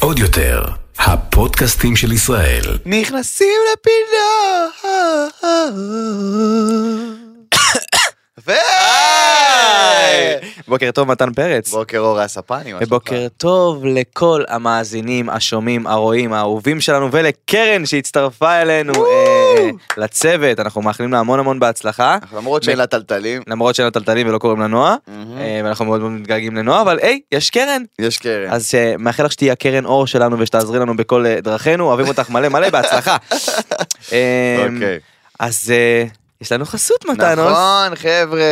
עוד יותר, הפודקאסטים של ישראל. נכנסים לפינה. יפה! בוקר טוב מתן פרץ. בוקר אור הספני. מה ובוקר שלומך? טוב לכל המאזינים, השומעים, הרואים, האהובים שלנו ולקרן שהצטרפה אלינו אה, אה, לצוות, אנחנו מאחלים לה המון המון בהצלחה. אנחנו למרות שאין לה טלטלים, למרות שאין לה טלטלים ולא קוראים לה נועה, מהמם. אה, ואנחנו מאוד מאוד מתגעגעים לנועה, אבל היי, יש קרן. יש קרן. אז אה, מאחל לך שתהיי הקרן אור שלנו ושתעזרי לנו בכל אה, דרכינו, אוהבים אותך מלא מלא, בהצלחה. אה, אוקיי. אז אה, יש לנו חסות מתנוס. נכון, חבר'ה,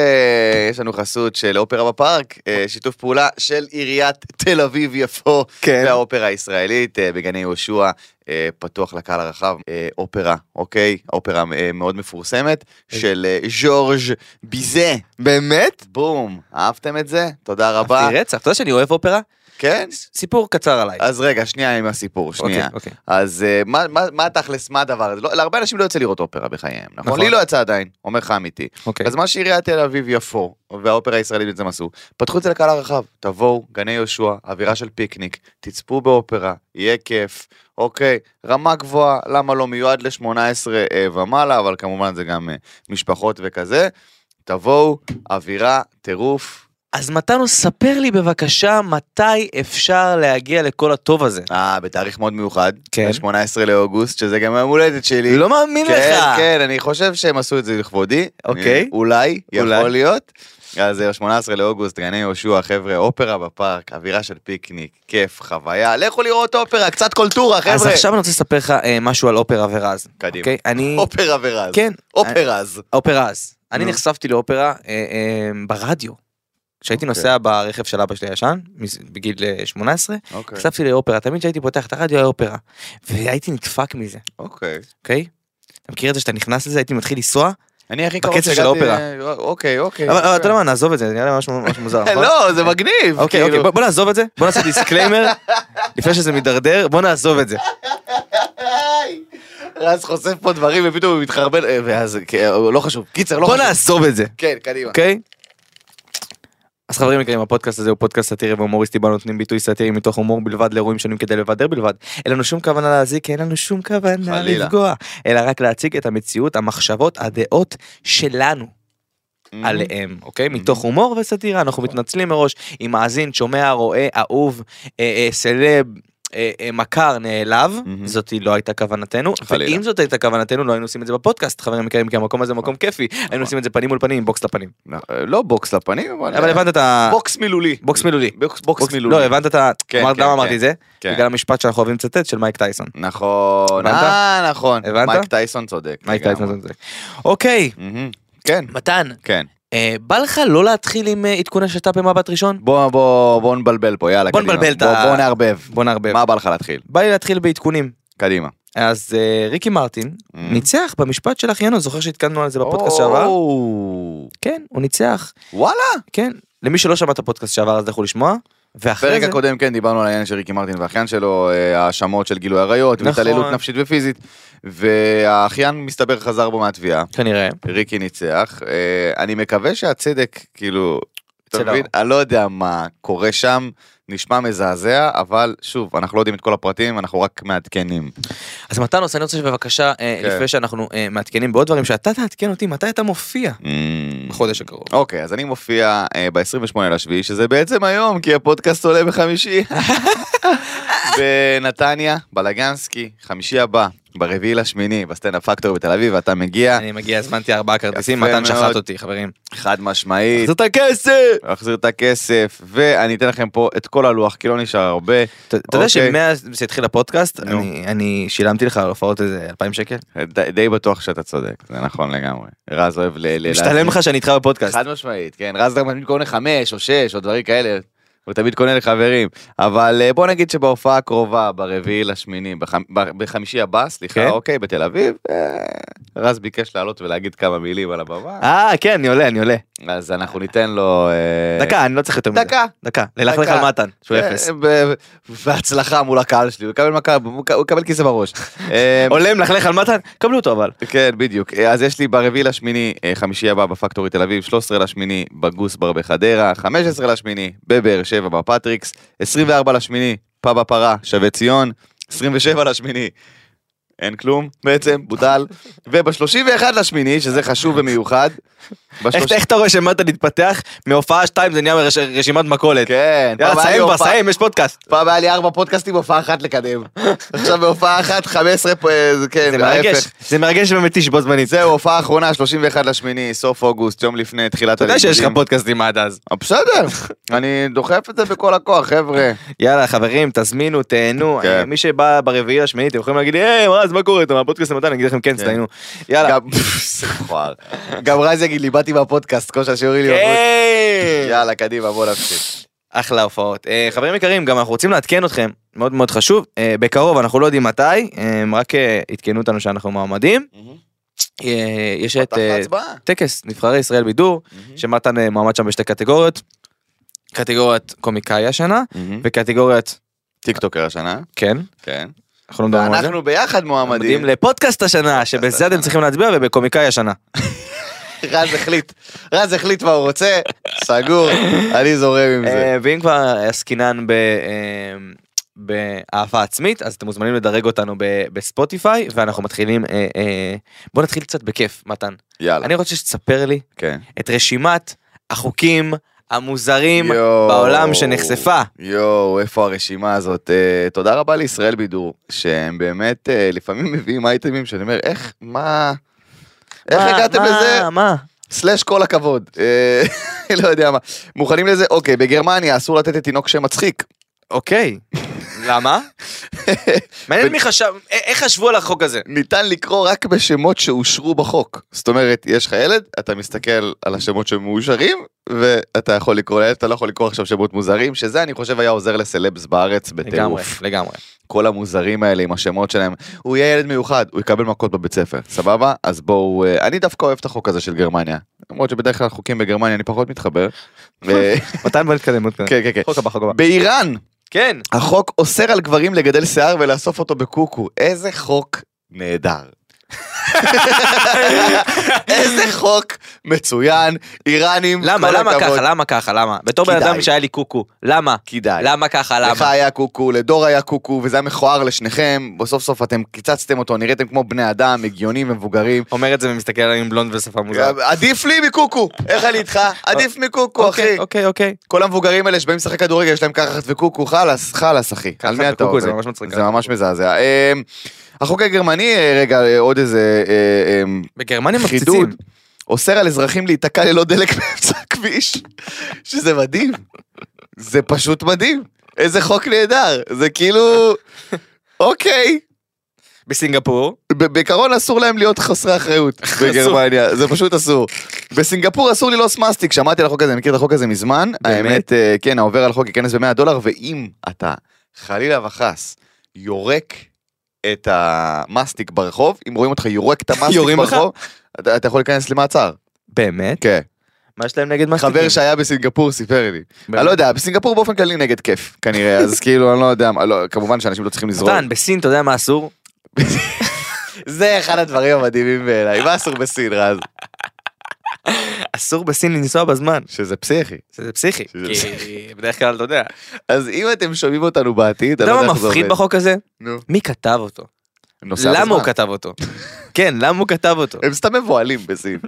יש לנו חסות של אופרה בפארק, אה, שיתוף פעולה של עיריית תל אביב יפו, כן. והאופרה הישראלית אה, בגני יהושע, אה, פתוח לקהל הרחב, אה, אופרה, אוקיי? אופרה אה, מאוד מפורסמת, של אה, ז'ורג' ביזה. באמת? אה, בום, אהבתם את זה? תודה רבה. אהבתי רצח, אתה יודע שאני אוהב אופרה? כן? ס- סיפור קצר עליי. אז רגע, שנייה עם הסיפור, שנייה. אוקיי, אוקיי. אז אה, מה- מה מה תכלס, מה הדבר הזה? לא- להרבה אנשים לא יוצא לראות אופרה בחייהם, נכון? נכון. לי לא יצא עדיין, אומר לך אמיתי. אוקיי. אז מה שעיריית תל אביב יפו והאופרה הישראלית בעצם עשו, פתחו את זה לקהל הרחב, תבואו, גני יהושע, אווירה של פיקניק, תצפו באופרה, יהיה כיף, אוקיי, רמה גבוהה, למה לא מיועד ל-18 אה, ומעלה, אבל כמובן זה גם אה, משפחות וכזה, תבואו, אווירה, טירוף. אז מתנו, ספר לי בבקשה מתי אפשר להגיע לכל הטוב הזה. אה, בתאריך מאוד מיוחד, כן. ב-18 לאוגוסט, שזה גם היום הולדת שלי. לא מאמין כן, לך. כן, אני חושב שהם עשו את זה לכבודי. אוקיי. אני- אולי, יכול אולי. להיות. אז אה, 18 לאוגוסט, גני יהושע, חבר'ה, אופרה בפארק, אווירה של פיקניק, כיף, חוויה, לכו לראות אופרה, קצת קולטורה, אז חבר'ה. עכשיו אני רוצה לספר לך אה, משהו על אופרה ורז. קדימה. אוקיי? אני... אופרה ורז. כן. אופרה אז. אופרה אז. אני נו. נחשפתי לאופרה אה, אה, ברדיו. כשהייתי אוקיי. נוסע ברכב של אבא שלי הישן, מס- בגיל אה, 18, אוקיי. נחשפתי לאופרה. תמיד כשהייתי פותח את הרדיו היה אופרה. והייתי נדפק מזה, אוקיי. אוקיי? אתה מכיר את זה שאתה נכנס לזה, הייתי מתחיל לנסוע? אני הכי בקצב של האופרה. ל- אוקיי, אוקיי. אבל אבל אתה יודע מה, נעזוב את זה, זה נראה לי משהו ממש מוזר. נכון? לא, זה מגניב. אוקיי, כאילו. אוקיי, בוא- בוא נעזוב את זה, בוא נעשה דיסקליימר, לפני שזה מידרדר, בוא נעזוב את זה. היי. רז חושף פה דברים ופתאום הוא מתחרבן, אה, ואז, כן, לא חשוב. קיצר, לא בוא חשוב. נעזוב את זה, כן, קדימה. אוקיי? אז חברים יקרים, הפודקאסט הזה הוא פודקאסט סאטירי והומוריסטי, בו נותנים ביטוי סאטירי מתוך הומור בלבד לאירועים שונים כדי לבדר בלבד. אין לנו שום כוונה להזיק, אין לנו שום כוונה חלילה. לפגוע, אלא רק להציג את המציאות, המחשבות, הדעות שלנו. Mm-hmm. אה, עליהם, אוקיי? מתוך הומור וסאטירה, אנחנו מתנצלים מראש עם מאזין, שומע, רואה, אהוב, אה, אה, סלב. אה, אה, מכר נעלב, מהמם. זאת לא הייתה כוונתנו, Mm-hmm. חלילה. ואם זאת הייתה כוונתנו לא היינו עושים את זה בפודקאסט, חברים יקרים, כי המקום הזה מקום כיפי, נכון. היינו עושים את זה פנים מול פנים, בוקס לפנים. לא בוקס לפנים, אבל הבנת את ה... בוקס מילולי. אה. בוקס מילולי. בוקס, בוקס מילולי. לא, הבנת את ה... כן, אמרת כן, למה כן. אמרתי את זה? כן. בגלל המשפט שאנחנו אוהבים לצטט של מייק טייסון. נכון. הבנת? אה, נכון. הבנת? מייק טייסון צודק. מייק לגמרי. טייסון זה זה. אוקיי, מהמם. כן, מתן, כן. אה, בא לך לא להתחיל עם אה, עדכון השת"פ במבט ראשון? בוא, בוא, בוא נבלבל פה, יאללה, בוא קדימה. נבלבל את בוא- ה- בוא נערבב. בוא נערבב. מה בא לך להתחיל? בא לי להתחיל בעדכונים. קדימה. אז אה, ריקי מרטין Mm. ניצח במשפט של אחיינו, זוכר שהתקדמנו על זה בפודקאסט שעבר? או, כן, הוא ניצח, וואלה. כן. למי שלא שמע את הפודקאסט שעבר אז לכו לשמוע. ואחרי בפרק זה, הקודם כן דיברנו על העניין של ריקי מרטין והאחיין שלו, אה, האשמות של גילוי עריות, נכון. והתעללות נפשית ופיזית, והאחיין מסתבר חזר בו מהתביעה. כנראה, ריקי ניצח. אה, אני מקווה שהצדק, כאילו, אתה אצל מבין? אני לא יודע מה קורה שם, נשמע מזעזע, אבל שוב, אנחנו לא יודעים את כל הפרטים, אנחנו רק מעדכנים. אז מתנוס אני רוצה שבבקשה, אה, כן. לפני שאנחנו אה, מעדכנים בעוד דברים, שאתה תעדכן אותי מתי אתה מופיע בחודש הקרוב. Mm. אוקיי, אז אני מופיע ב-28 לשביעי, שזה בעצם היום, כי הפודקאסט עולה בחמישי. בנתניה, בלגנסקי, חמישי הבא, ברביעי לשמיני, בסטנדאפ פקטור בתל אביב, ואתה מגיע, אה, אני מגיע, הזמנתי ארבעה כרטיסים, יפה מתן מאוד. שחט אותי, חברים. חד משמעית. את הכסף! להחזיר את הכסף, ואני אתן לכם פה את כל הלוח, כי לא נשאר הרבה. אתה יודע אוקיי. שמאז שהתחיל הפודקאסט, נו. אני- אני שילמתי לך על הופעות איזה 2,000 שקל? די, די בטוח שאתה צודק, זה נכון לגמרי. רז אוהב ל... ל- משתלם לך שאני איתך בפודקאסט. חד משמעית, כן. רז גם תמיד קונה חמש או שש או דברים כאלה. הוא תמיד קונה לחברים. אבל אה, בוא נגיד שבהופעה הקרובה, ברביעי לשמיני, בחמ... ב- בחמישי הבא, סליחה, כן. אוקיי, בתל אביב, אה, רז ביקש לעלות ולהגיד כמה מילים על הבמה, אה, כן, אני עולה, אני עולה. אז אנחנו ניתן לו... אה, דקה, אני לא צריך יותר מזה. דקה. דקה. ללכלך דקה. על מתן, שהוא אה, אפס. ב- בהצלחה מול הקהל שלי, הוא יקבל מכה, הוא ק- הוא יקבל כיסא בראש. אה, עולה מלכלך על מתן? קבלו אותו אבל. כן, בדיוק. אה, אז יש לי ברביעי לשמיני, אה, חמישי הבא בפקטורי תל אביב, 13 לשמיני בגוס בר בחדרה, 15 לשמיני בבאר שבע בפטריקס, 24 לשמיני, פאב הפרה, שבי ציון, 27 לשמיני, אין כלום בעצם, בוטל, וב-31 לשמיני, שזה חשוב במיוחד, איך בשלוש- איך אתה רואה שמטה להתפתח מהופעה 2 זה נהיה מרש- רשימת מכולת. כן, פעם היה לי יאללה סיים כבר הופעה- סיים יש פודקאסט. פעם היה לי ארבע פודקאסטים, הופעה אחת לקדם. עכשיו בהופעה אחת, 15 פה, אה, זה כן, זה מרגש ההפך. זה מרגש ומתיש בו זמנית. זהו, הופעה אחרונה, 31 לשמיני, סוף אוגוסט, יום לפני תחילת אתה יודע שיש לך הלימודים. פודקאסטים עד אז. אה, בסדר, אני דוחף את זה בכל הכוח, חבר'ה. יאללה חברים תזמינו תהנו כן. אה, מי שבא ברביעי לשמיני אתם יכולים להגיד לי היי רז מה קורה אתה מהפודקאסט המתן אני אגיד לכם כן כן. תזדיינו. יאללה. גם- זה מכוער. גם רז יגיד לי, באתי מהפודקאסט, כמו שהשיעורי לי בחוץ. כן. יאללה, קדימה, בוא נמשיך. אחלה הופעות. אה, חברים יקרים, גם אנחנו רוצים לעדכן אתכם, מאוד מאוד חשוב, אה, בקרוב, אנחנו לא יודעים מתי, אה, רק אה, עדכנו אותנו שאנחנו מועמדים. אה, יש את אה, טקס נבחרי ישראל Mm-hmm. בידור, שמתן אה, מועמד שם בשתי קטגוריות, קטגוריית קומיקאי השנה, וקטגוריית, טיקטוקר השנה, כן, כן. אנחנו לא מדברים על זה, ואנחנו ביחד מועמדים. מועמדים לפודקאסט השנה, שבזה אתם צריכים להצביע, ובקומיקאי השנה. רז החליט, רז החליט מה הוא רוצה, סגור, אני זורם עם זה. אה, ואם כבר עסקינן ב... אה, באהבה עצמית אז אתם מוזמנים לדרג אותנו ב- בספוטיפיי ואנחנו מתחילים אה, אה, בוא נתחיל קצת בכיף מתן יאללה. אני רוצה שתספר לי כן. את רשימת החוקים המוזרים יואו. בעולם שנחשפה יואו, איפה הרשימה הזאת? אה, תודה רבה לישראל בידור, שהם באמת אה, לפעמים מביאים אייטמים שאני אומר, איך, מה... איך מה- הגעתם מה- לזה? מה סלאש כל הכבוד, אה, לא יודע מה. מוכנים לזה? אוקיי, בגרמניה אסור לתת לתינוק שם מצחיק. אוקיי למה מעניין מי חשב א- איך חשבו על החוק הזה ניתן לקרוא רק בשמות שאושרו בחוק. זאת אומרת, יש לך ילד, אתה מסתכל על השמות שמאושרים, ואתה יכול לקרוא לילד, אתה לא יכול לקרוא עכשיו שמות מוזרים, שזה אני חושב היה עוזר לסלבס בארץ לגמרי בטירוף. לגמרי כל המוזרים האלה עם השמות שלהם, הוא יהיה ילד מיוחד, הוא יקבל מכות בבית ספר, סבבה? אז בואו, אה, אני דווקא אוהב את החוק הזה של גרמניה. למרות שבדרך כלל חוקים בגרמניה אני פחות מתחבר. אה, מתן בוא נתקדם עוד כן, כן, כן. חוק הבא חוק הבא באיראן, כן החוק אוסר על גברים לגדל שיער ולאסוף אותו בקוקו. איזה חוק נהדר. איזה חוק מצוין, איראנים, למה כל למה הכבוד. ככה למה ככה למה בתור בן כדאי. אדם שהיה לי קוקו למה כדאי. למה ככה לך למה היה קוקו, לדור היה קוקו, וזה היה מכוער לשניכם, בסוף סוף אתם קיצצתם אותו, נראיתם כמו בני אדם, הגיונים ומבוגרים. אומר את זה ומסתכל עליי עם בלונד ושפה מוזרה. עדיף לי מקוקו, איך אני איתך? עדיף מקוקו, אחי. אוקיי אוקיי אוקיי כל המבוגרים האלה שבאים לשחק כדורגל, יש להם קרחת וקוקו, חלאס, חלאס אחי. קרחת על מי אתה וקוקו עובד? זה ממש מצחיק. זה ממש מזעזע. אה, החוק הגרמני, אה, רגע, אה, עוד איזה אה, בגרמניה אה, מפציצים. חידוד. אוסר על אזרחים להיתקע ללא דלק באמצע הכביש, שזה מדהים. זה פשוט מדהים. איזה חוק נהדר. זה כאילו... אוקיי. בסינגפור ב- בעיקרון אסור להם להיות חסרי אחריות בגרמניה, זה פשוט אסור. בסינגפור אסור ללעוס מסטיק, שמעתי על החוק הזה, אני מכיר את החוק הזה מזמן. באמת? האמת, אה, כן, העובר על חוק ייכנס ב-100 דולר, ואם אתה חלילה וחס יורק את המסטיק ברחוב, אם רואים אותך יורק את המסטיק יורים לך? ברחוב, אתה אתה יכול להיכנס למעצר. באמת כן. מה יש להם נגד מסטיקים? חבר שהיה בסינגפור סיפר לי. באמת? אני לא יודע, בסינגפור באופן כללי נגד כיף, כנראה, אז כאילו, אני לא יודע, מה- לא, כמובן שאנשים לא צריכים לזרוק. מתן בסין אתה יודע מה אסור? זה אחד הדברים המדהימים בעיניי, מה אסור בסין, רז? אסור בסין לנסוע בזמן. שזה פסיכי. זה פסיכי. שזה כי בדרך כלל אתה יודע. אתה אז אם אתם שומעים אותנו בעתיד, אני יודע לא יודע מה איך זה מפחיד עובד. בחוק הזה? נו. מי כתב אותו? נוסע למה בזמן. הוא כתב אותו? כן למה הוא כתב אותו? הם סתם מבוהלים בסין.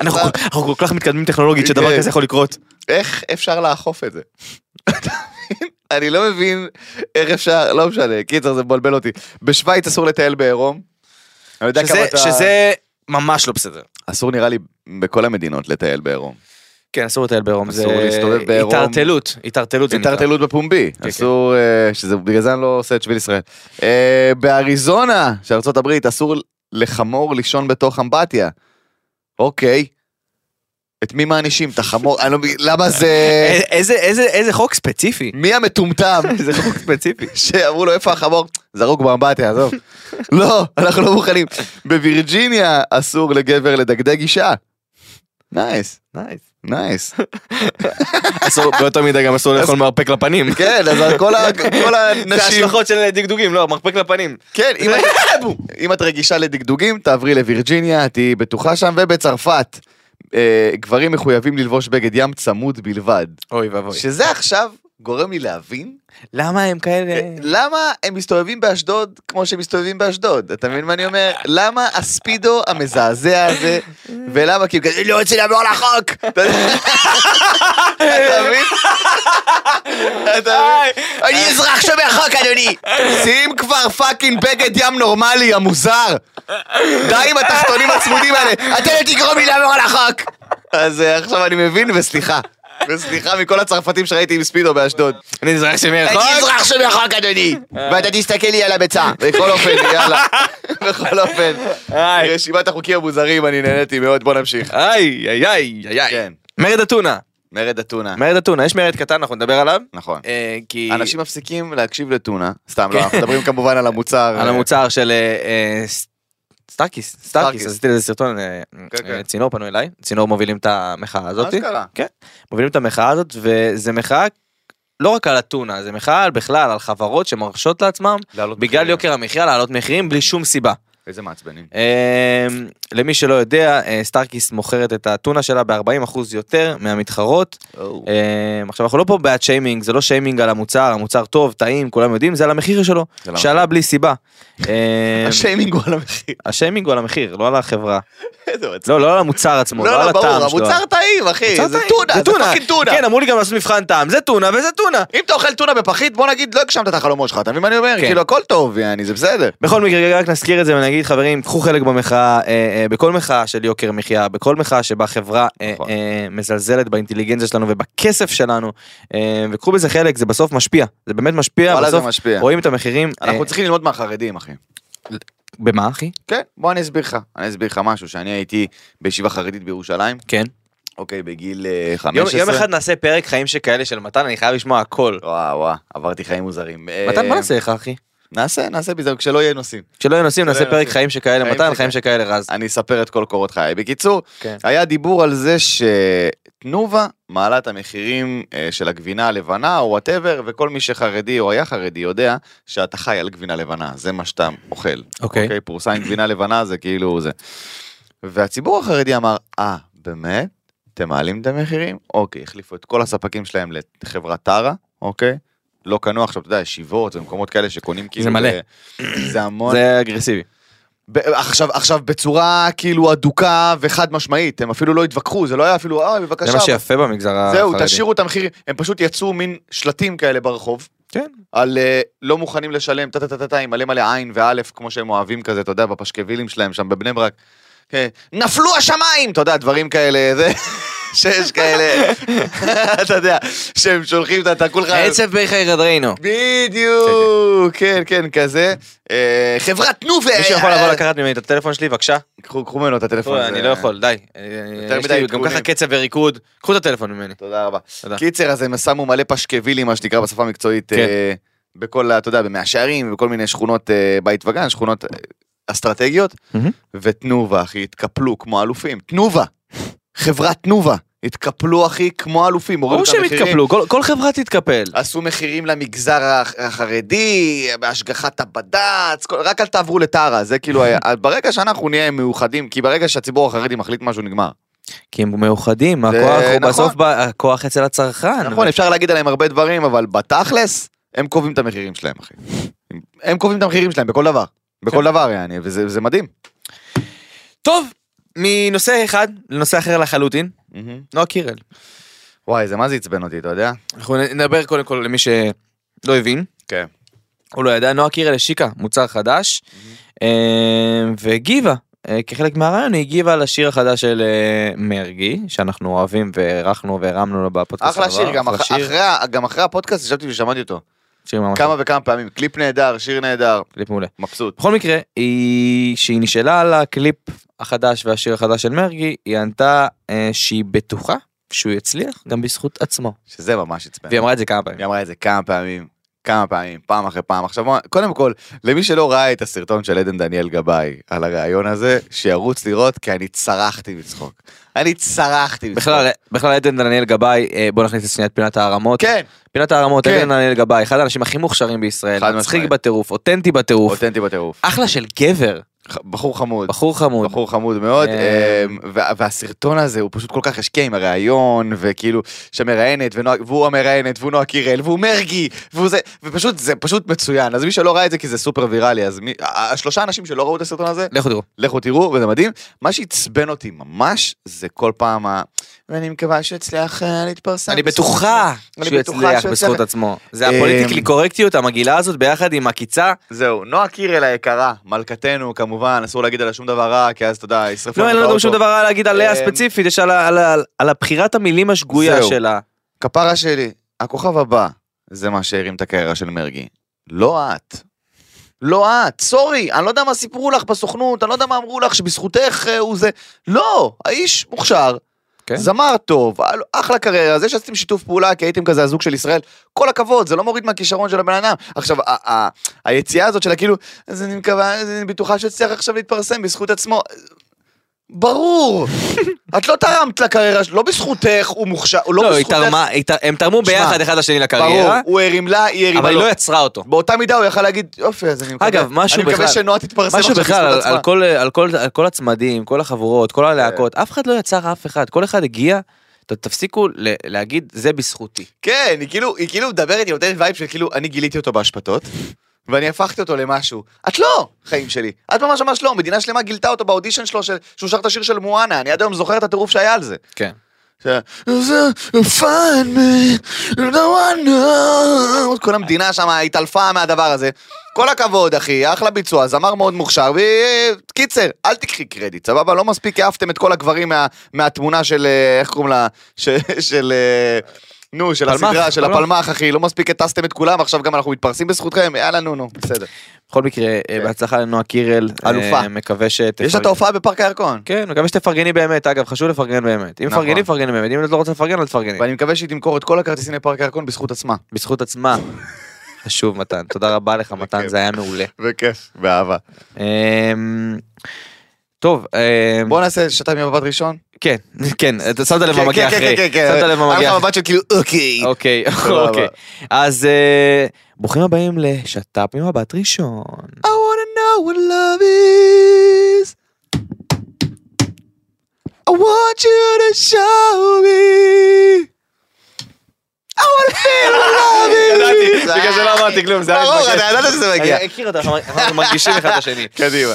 אנחנו סתם, אנחנו כל כך מתקדמים טכנולוגית כן. שדבר כזה יכול לקרות. איך אפשר לאכוף את זה? אתה מבין? אני לא מבין איך אפשר, לא משנה, קיצר זה מבלבל אותי. בשוויץ אסור לטייל בעירום. אני יודע שזה- כמה אתה... שזה ממש לא בסדר. אסור נראה לי בכל המדינות לטייל בעירום. כן אסור לטייל בעירום. אסור זה להסתובב בעירום. התערטלות. התערטלות זה נקרא. התערטלות בפומבי, כן. אסור, אה, שזה בגלל זה אני לא עושה את שביל ישראל. אה, באריזונה, שארצות הברית, אסור לחמור לישון בתוך אמבטיה. אוקיי. את מי מענישים? את החמור? אני לא מבין, למה זה... אה, איזה- איזה איזה חוק ספציפי. מי המטומטם זה חוק ספציפי. שאמרו לו איפה החמור? זרוק באמבטיה, עזוב. לא, אנחנו לא מוכנים. בווירג'יניה אסור לגבר לדגדג אישה. נייס, נייס. נייס. אסור באותה מידה גם אסור לאכול מרפק לפנים. כן, אז כל ה- כל זה הנשים... ההשלכות של דגדוגים לא מרפק לפנים. כן, אם את- אם את רגישה לדגדוגים, תעברי לווירג'יניה, תהיי בטוחה שם, ובצרפת. אה, גברים מחויבים ללבוש בגד ים צמוד בלבד. אוי ואבוי. שזה עכשיו גורם לי להבין למה הם כאלה... למה הם מסתובבים באשדוד כמו שהם מסתובבים באשדוד? אתה מבין מה אני אומר? למה הספידו המזעזע הזה, ולמה כאילו, אני לא רוצה לעבור על החוק! אתה יודע? אתה מבין? אתה אה, מבין? אני אזרח שומר חוק, אדוני! שים כבר פאקינג בגד ים נורמלי, המוזר! די עם התחתונים הצמודים האלה! אתה לא תגרום לי לעבור על החוק! אז אה, עכשיו אני מבין, וסליחה. וסליחה מכל הצרפתים שראיתי עם ספידו באשדוד. אני אזרח שמרחוק. אני אזרח שמרחוק אדוני, ואתה תסתכל לי על הביצה. בכל אופן, יאללה. בכל אופן, איי, רשימת החוקים המוזרים, אני נהניתי מאוד, בוא נמשיך. איי, איי, איי, איי. כן, מרד אתונה. מרד אתונה. מרד אתונה, יש מרד קטן, אנחנו נדבר עליו. נכון. אה, כי... אנשים מפסיקים להקשיב לטונה, סתם לא, אנחנו מדברים כמובן על המוצר. על המוצר של אה, אה, ס- סטארקיס, סטארקיס, סטארקיס. עשיתי לזה סרטון, אה, כן, אה, כן. צינור פנו אליי, צינור מובילים את המחאה הזאת, אשכרה. כן, מובילים את המחאה הזאת, וזה מחאה לא רק על אתונה, זה מחאה על- בכלל על חברות שמרשות לעצמם, להעלות בגלל מחירים. יוקר המחיה, להעלות מחירים בלי שום סיבה. איזה מעצבנים. אה, למי שלא יודע, אה, סטארקיס מוכרת את האתונה שלה ב-40% יותר מהמתחרות. אה, עכשיו אנחנו לא פה בעד שיימינג, זה לא שיימינג על המוצר, המוצר טוב, טעים, כולם יודעים, זה על המחיר שלו, זה על שעלה בלי סיבה. אה, השיימינג הוא על המחיר. השיימינג הוא על המחיר, לא על החברה. איזה מעצבן. לא, לא על המוצר עצמו, לא לא, על לא, הטעם שלו. ברור, המוצר טעים, מוצר אחי. זה טעים, טונה, זה פאקינג טונה. כן, אמרו לי גם לעשות מבחן טעם, זה טונה וזה טונה. אם אתה אוכל טונה בפחית, בוא נגיד, לא הגשמת את החלומות שלך, אתה מבין מה אני אומר? כן. כאילו, הכל טוב, יעני, זה בסדר. בכל מקרה, רק נזכיר את זה ונגיד, חברים, קחו חלק במחאה, אה, אה, בכל מחאה של יוקר מחיה, בכל מחאה שבה חברה אה, נכון. אה, מזלזלת באינטליגנציה שלנו ובכסף שלנו, אה, וקחו בזה חלק, זה בסוף משפיע, זה באמת משפיע, וואלה, זה בסוף משפיע. רואים את המחירים. אנחנו אה, צריכים ללמוד מהחרדים, אחי. במה, אחי? כן, בוא אני אסביר לך. אני אסביר לך משהו, שאני הייתי בישיבה חרדית בירושלים, כן. אוקיי, בגיל אה, יום 15. יום אחד נעשה פרק חיים שכאלה של מתן, אני חייב לשמוע הכל. וואו, וואו, עברתי חיים מוזרים. אה, מתן, מה נעשה לך, אחי? נעשה, נעשה בזמן, כשלא יהיה נושאים. כשלא יהיו נושאים, כשלא נעשה יהיו פרק נושאים. חיים שכאלה, חיים מתן, שכאלה. חיים שכאלה, רז. אני אספר את כל קורות חיי. בקיצור, כן. היה דיבור על זה שתנובה מעלה את המחירים אה, של הגבינה הלבנה או וואטאבר, וכל מי שחרדי או היה חרדי יודע שאתה חי על גבינה לבנה, זה מה שאתה אוכל. אוקיי. אוקיי, פרוסה עם גבינה לבנה זה כאילו זה. והציבור החרדי אמר, אה, באמת? אתם מעלים את המחירים? אוקיי, החליפו את כל הספקים שלהם לחברת טרה, אוקיי? לא קנו עכשיו, אתה יודע, ישיבות ומקומות כאלה שקונים כאילו... מלא. ב- זה המון. זה אגרסיבי. ב- עכשיו, עכשיו, בצורה כאילו אדוקה וחד משמעית, הם אפילו לא התווכחו, זה לא היה אפילו, אה, בבקשה. זה מה שיפה במגזר החרדי. זהו, תשאירו את המחירים. הם פשוט יצאו מין שלטים כאלה ברחוב, כן. על אה, לא מוכנים לשלם, טה טה טה טה טה, עם מלא מלא עין ואלף, כמו שהם אוהבים כזה, אתה יודע, בפשקווילים שלהם שם בבני ברק. כן, נפלו השמיים! אתה יודע, דברים כאלה, זה... שיש כאלה, אתה יודע, שהם שולחים את אתה כולך... עצב בחי רדרינו. בדיוק, כן, כן, כזה. אה, חברת אה, תנובה! מישהו יכול לבוא לקחת ממני את הטלפון שלי, בבקשה? קחו קחו ממנו את הטלפון. אוי, זה- אני לא יכול, די. יותר יש מדי לי גם עדכונים. ככה קצב וריקוד, קחו את הטלפון ממני. תודה רבה. תודה. קיצר, אז הם שמו מלא פשקווילים, מה שנקרא בשפה המקצועית, כן. אה, בכל, ה- אתה יודע, במאה שערים, ובכל מיני שכונות אה, בית וגן, שכונות אה, אסטרטגיות, מהמם. ותנובה, אחי, התקפלו כמו אלופים. תנובה! חברת תנובה! התקפלו, אחי, כמו אלופים, הורידו ברור את שהם המחירים. יתקפלו, כל- כל חברה תתקפל. עשו מחירים למגזר הח- החרדי, בהשגחת הבד"ץ, כל- רק אל תעברו לטרה, זה כאילו היה. אז ברגע שאנחנו נהיה מאוחדים, כי ברגע שהציבור החרדי מחליט משהו נגמר. כי הם מאוחדים, הכוח זה הוא נכון. בסוף, ב- הכוח אצל הצרכן. נכון, אפשר להגיד עליהם הרבה דברים, אבל בתכלס, הם קובעים את המחירים שלהם, אחי. הם- הם קובעים את המחירים שלהם בכל דבר. כן. בכל דבר, יעני, וזה זה מדהים. טוב, מנושא אחד לנושא אחר לחלוטין, נועה קירל. וואי, זה מה זה עצבן אותי, אתה יודע? אנחנו נדבר קודם כל למי שלא הבין. כן. הוא לא ידע, נועה קירל השיקה מוצר חדש, Mm-hmm. אה, והגיבה, אה, כחלק מהרעיון, היא הגיבה לשיר החדש של אה, מרגי, שאנחנו אוהבים והערכנו והרמנו לו בפודקאסט. אחלה העבר. שיר, גם אחלה אח- אחרי ה- גם אחרי הפודקאסט ישבתי ושמעתי אותו. שיר ממש כמה וכמה פעמים, קליפ נהדר, שיר נהדר, קליפ מעולה. מבסוט. בכל מקרה, היא, כשהיא נשאלה על הקליפ החדש והשיר החדש של מרגי, היא ענתה אה, שהיא בטוחה שהוא יצליח גם בזכות עצמו. שזה ממש עצבן. והיא אמרה את זה כמה פעמים. היא אמרה את זה כמה פעמים, כמה פעמים, פעם אחרי פעם. עכשיו, בוא- קודם כל, למי שלא ראה את הסרטון של עדן דניאל גבאי על הרעיון הזה, שירוץ לראות, כי אני צרחתי מצחוק. אני צרחתי מצחוק. בכלל, בכלל עדן דניאל גבאי, אה, בוא נכניס לשנייה את פינת הערמות. כן, פינת הערמות, כן. עדן דניאל גבאי, אחד האנשים הכי מוכשרים בישראל, חד מצחיק משמעית. בטירוף, אותנטי בטירוף, אותנטי בטירוף. אחלה של גבר. ח- בחור חמוד. בחור חמוד. בחור חמוד מאוד, אמ, אמ, וה- והסרטון הזה הוא פשוט כל כך השקיע עם הראיון, וכאילו, שהמראיינת, ונועה- והוא המראיינת, והוא נועה קירל, והוא מרגי, והוא זה, ופשוט, זה פשוט מצוין. אז מי שלא ראה את זה, כי זה סופר ויראלי, אז מי, ה- השלושה אנשים שלא ראו את הסרטון הזה, לכו תראו. לכו תראו, וזה מדהים. מה שעצבן אותי ממש, זה כל פעם ה... ואני מקווה שהוא יצליח אה, להתפרסם. אני בטוחה אני שהוא בטוחה יצליח אמ- שהוא בזכות יצליח. עצמו. זה הפוליטיקלי קורקטיות, המגעילה הזאת, ביחד עם עקיצה. זהו, נועה קירל היקרה, מלכתנו כמובן, אסור להגיד עליה שום דבר רע, כי אז אתה יודע, ישרפו לא, אין לך לנו באוטו. שום דבר רע להגיד עליה אמ, ספציפית, יש על ה- על ה- על הבחירת המילים השגויה זהו. שלה. כפרה שלי, הכוכב הבא, זה מה שהרים את הקריירה של מרגי. לא את. לא את, סורי, אני לא יודע מה סיפרו לך בסוכנות, אני לא יודע מה אמרו לך שבזכותך אה, הוא זה... לא, האיש מוכשר, כן. זמר טוב, אה, לא, אחלה קריירה, זה שעשיתם שיתוף פעולה כי הייתם כזה הזוג של ישראל, כל הכבוד, זה לא מוריד מהכישרון של הבן אדם. עכשיו, ה- ה- היציאה הזאת שלה כאילו, אז אני מקווה, אז אני בטוחה שתצליח עכשיו להתפרסם בזכות עצמו. ברור, את לא תרמת לקריירה שלו, לא בזכותך, הוא מוכשר, הוא לא, לא, היא בזכותך. תרמה, היא תר- הם תרמו שמע, ביחד אחד לשני ברור, לקריירה, הוא הרים לה, היא הרימה אבל היא לו. לא יצרה אותו. באותה מידה הוא יכל להגיד, יופי, אז אני מקווה. אגב, משהו אני מקווה בכלל- שנועה תתפרסם משהו עכשיו בכלל, בזכות על, על, עצמה. כן. כל, על, כל, על כל הצמדים, כל החבורות, כל הלהקות, אף אחד לא יצר אף אחד, כל אחד הגיע, ת- תפסיקו ל- להגיד זה בזכותי. כן, היא כאילו, היא כאילו מדברת, היא נותנת וייב של כאילו, אני גיליתי אותו באשפתות, ואני הפכתי אותו למשהו. את לא, חיים שלי. את ממש ממש לא, מדינה שלמה גילתה אותו באודישן שלו, של- שהוא שר את השיר של מואנה, אני עד היום זוכר את הטירוף שהיה על זה. כן. ש- Find me, no one knows. כל המדינה שם התעלפה מהדבר הזה. כל הכבוד, אחי, אחלה ביצוע, זמר מאוד מוכשר, וקיצר, אל תקחי קרדיט, סבבה? לא מספיק העפתם את כל הגברים מה- מהתמונה של, אה, איך קוראים לה? ש- של... אה, נו, של פלמח, הסדרה, של פלמח. הפלמח, אחי, לא מספיק הטסתם את כולם, עכשיו גם אנחנו מתפרסים בזכותכם, יאללה, נו, נו, בסדר. בכל מקרה, אה, כן. בהצלחה לנועה קירל. אלופה. אה, מקווה שת... יש לה את ההופעה בפארק הירקון, כן, מקווה שתפרגני באמת, אגב, חשוב לפרגן באמת. אם נכון. מפרגנים, מפרגנים באמת, אם את לא רוצה לפרגן, אל תפרגני. ואני מקווה שהיא תמכור את כל הכרטיסים לפארק הירקון בזכות עצמה. בזכות עצמה. חשוב, מתן. תודה רבה לך, מתן, בכיף. זה היה מעולה. בכיף, באהבה. אמ, טוב, אמ, בוא נעשה שתיים עם מבט ראשון. כן, כן, אתה שמת לב כן, מה מגיע כן, אחרי. כן, כן, כן. שמת לב מה היה לך מגיע אחרי. מבט של כאילו, אוקיי. אוקיי, סבבה. אוקיי. אז אה, ברוכים הבאים לשת"פ ממבט ראשון. I wanna know what love is. I want you to show me. I wanna feel what love is. אה, ידעתי, בגלל שלא אמרתי כלום, זה היה ברור, מתבקש. אתה ידעת שזה מגיע. אני מכיר אותם, אנחנו מרגישים אחד את השני. קדימה.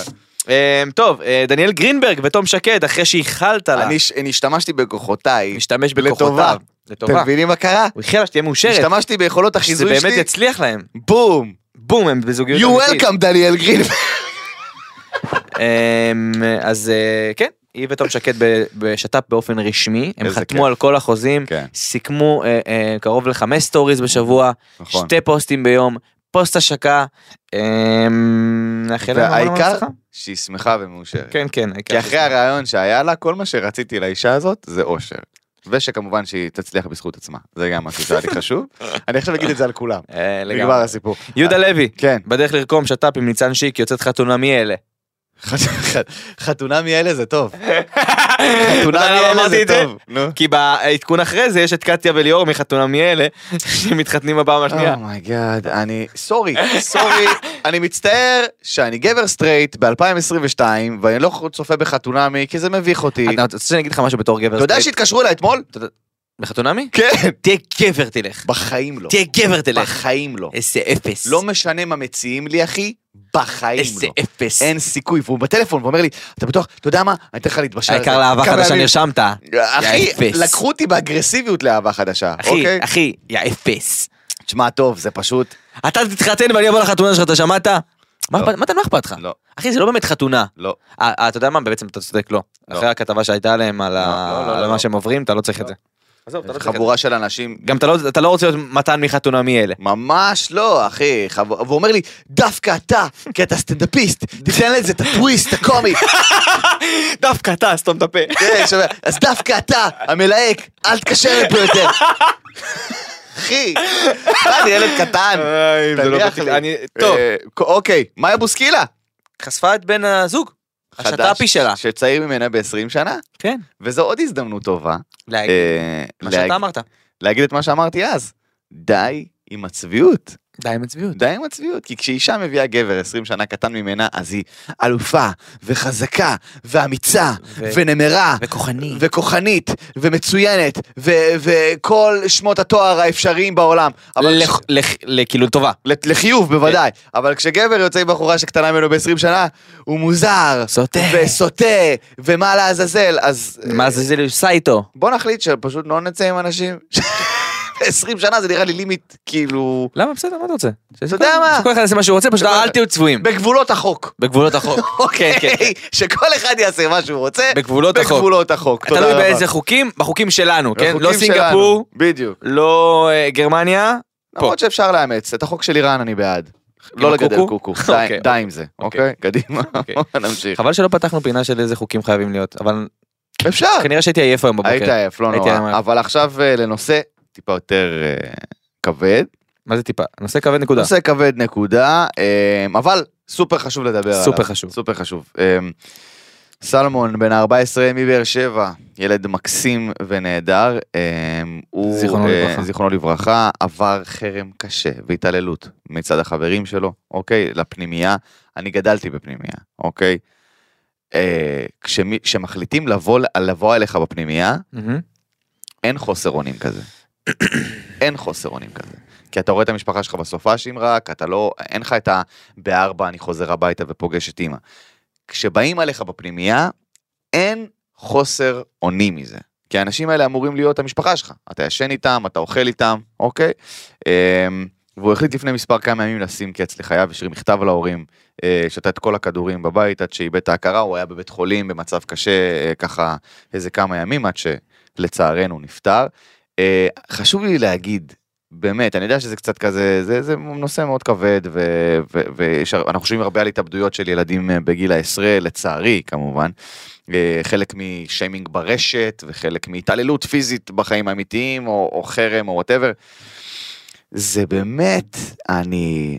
אה, טוב, אה, דניאל גרינברג ותום שקד, אחרי שאיכלת לה, אני ש- אני השתמשתי בכוחותיי. משתמש אה. לטובה. בכוחותיו. אתם לטובה. מבינים מה קרה? הוא איחל לה שתהיה מאושרת. השתמשתי ביכולות שזה החיזוי באמת שלי. יצליח להם. בום. בום, הם בזוגיות You welcome, דניאל גרין. כן, אמ, אז אה, כן, היא ותום שקד ב- בשת"פ באופן רשמי, הם איזה חתמו כיף. על כל החוזים, כן. סיכמו אה, אה, קרוב לחמש סטוריז בשבוע, נכון. שתי פוסטים ביום, פוסט השקה, אמ, נאחל להם המון המון והעיקר, הצלחה. שהיא שמחה ומאושרת. כן, כן, העיקר. כי אחרי הרעיון שהיה לה, כל מה שרציתי לאישה הזאת זה אושר. ושכמובן שהיא תצליח בזכות עצמה. זה גם משהו שהיה לי חשוב. אני עכשיו אגיד את זה על כולם. אה, נגמר לגמרי. הסיפור. יהודה לוי, כן. בדרך לרקום שת"פ עם ניצן שיק, יוצאת חתונה מי אלה. חתונה מאלה זה טוב. חתונה חתונה מאלה זה טוב. Oh נו. כי בעדכון אחרי זה יש את קטיה וליאור מחתונה מי אלה, שמתחתנים בפעם השנייה. אומייגאד, אני... סורי, סורי, אני מצטער שאני גבר סטרייט ב-2022, ואני לא צופה בחתונמי, כי זה מביך אותי. אתה רוצה שאני אגיד לך משהו בתור גבר? אה. אתה יודע סטרייט? שהתקשרו אליי אתמול? בחתונה מי? כן. תהיה גבר תלך. בחיים לא. תהיה גבר תלך. בחיים לא. איזה אפס. לא משנה מה מציעים לי, אחי, בחיים איזה לא. אפס. אין סיכוי, והוא בטלפון ואומר לי, אתה בטוח, אתה יודע מה, אני אתן לך להתבשל. על העיקר זה." לאהבה אה, כמה חדשה ימים. נרשמת. אחי, יא אפס. לקחו אותי באגרסיביות לאהבה חדשה, אוקיי? אחי, אחי, יא אפס. תשמע, טוב, זה פשוט... אתה תתחתן ואני אבוא לחתונה שלך, אתה שמעת? מה לא. אכפת- מתן, מה אכפת לך? לא, אחי, זה לא באמת חתונה. לא. אה, אה, אתה יודע מה? בעצם אתה צודק, לא. לא. אחרי הכתבה שהייתה עליהם על ה- לא, לא, לא, על לא. מה שהם עוברים, אתה לא צריך את זה. חבורה של אנשים גם אתה לא- אתה לא רוצה להיות מתן מחתונה מאלה. ממש לא, אחי. חב... והוא אומר לי, דווקא אתה, כי אתה סטנדאפיסט, תיתן לזה את הטוויסט הקומי. דווקא אתה, סתום את הפה. כן, שומע, אז דווקא אתה, המלהק, אל תקשר לפה יותר. אחי, מה, אני ילד קטן. לא תניח לי. טוב, אה, אוקיי, מאיה בוסקילה. חשפה את בן הזוג. השת"פי חדש, אה, שלה. שצעיר ממנה ב-20 שנה, כן. וזו עוד הזדמנות טובה. אה, מה להג- שאתה אמרת. להגיד את מה שאמרתי אז. די עם הצביעות. די עם הצביעות. די עם הצביעות, כי כשאישה מביאה גבר 20 שנה קטן ממנה, אז היא אלופה, וחזקה, ואמיצה, ו- ונמרה, וכוחני. וכוחנית, ומצוינת, ו- וכל שמות התואר האפשריים בעולם. אבל לכ- לכ- לכאילו טובה. לת- לחיוב בוודאי, כן. אבל כשגבר יוצא עם בחורה שקטנה ממנו ב-20 שנה, הוא מוזר, סוטה. וסוטה, ומה לעזאזל, אז אה, מה זה זה עושה איתו? בוא נחליט שפשוט לא נצא עם אנשים. 20 שנה זה נראה לי לימיט, כאילו, למה בסדר מה אתה רוצה? אתה יודע מה? שכל אחד יעשה מה שהוא רוצה פשוט שכל- אל תהיו צבועים. בגבולות החוק. בגבולות החוק. אוקיי, כן, כן. שכל אחד יעשה מה שהוא רוצה, בגבולות החוק. בגבולות החוק. תודה תלוי רבה. באיזה חוקים, בחוקים שלנו, כן? לא בחוקים שלנו. סינגפור, בדיוק. לא אה, גרמניה. פה. למרות שאפשר לאמץ, את החוק של איראן אני בעד. לא לגדל הקוקו? קוקו, די- אוקיי, די עם זה, אוקיי. אוקיי? קדימה, אוקיי. נמשיך. חבל שלא פתחנו פינה של איזה חוקים חייבים להיות, אבל אפשר. כנראה שהייתי עייף היום אה. היית בבוקר. עייף, לא כן, הייתי נורא. עייף. אבל עכשיו אה, לנושא טיפה יותר אה, כבד. מה זה טיפה? נושא כבד נקודה. נושא כבד נקודה, אה, אבל סופר חשוב לדבר עליו. סופר חשוב. סופר חשוב. אה, סלמון בן ה-14 מבאר שבע, ילד מקסים ונהדר, אה, הוא, זיכרונו אה, לברכה. זיכרונו לברכה, עבר חרם קשה והתעללות מצד החברים שלו, אוקיי? לפנימייה, אני גדלתי בפנימייה, אוקיי? אה, כשמי- כשמחליטים לבוא, לבוא אליך בפנימייה, מהמם. אין חוסר אונים כזה. אין חוסר אונים כזה. כי אתה רואה את המשפחה שלך בסופאשים רק, אתה לא, אין לך את ה... בארבע אני חוזר הביתה ופוגש את אימא. כשבאים עליך בפנימייה, אין חוסר אונים מזה. כי האנשים האלה אמורים להיות המשפחה שלך. אתה ישן איתם, אתה אוכל איתם, אוקיי? אמ, והוא החליט לפני מספר כמה ימים לשים קץ לחייו, השאיר מכתב להורים, אה, שתה את כל הכדורים בבית עד שאיבד את ההכרה, הוא היה בבית חולים במצב קשה, אה, ככה איזה כמה ימים עד שלצערנו נפטר. אה, חשוב לי להגיד, באמת, אני יודע שזה קצת כזה, זה, זה נושא מאוד כבד, ואנחנו חושבים הרבה על התאבדויות של ילדים אה, בגיל העשרה, לצערי כמובן. אה, חלק משיימינג ברשת וחלק מהתעללות פיזית בחיים האמיתיים או, או חרם או וואטאבר. זה באמת, אני,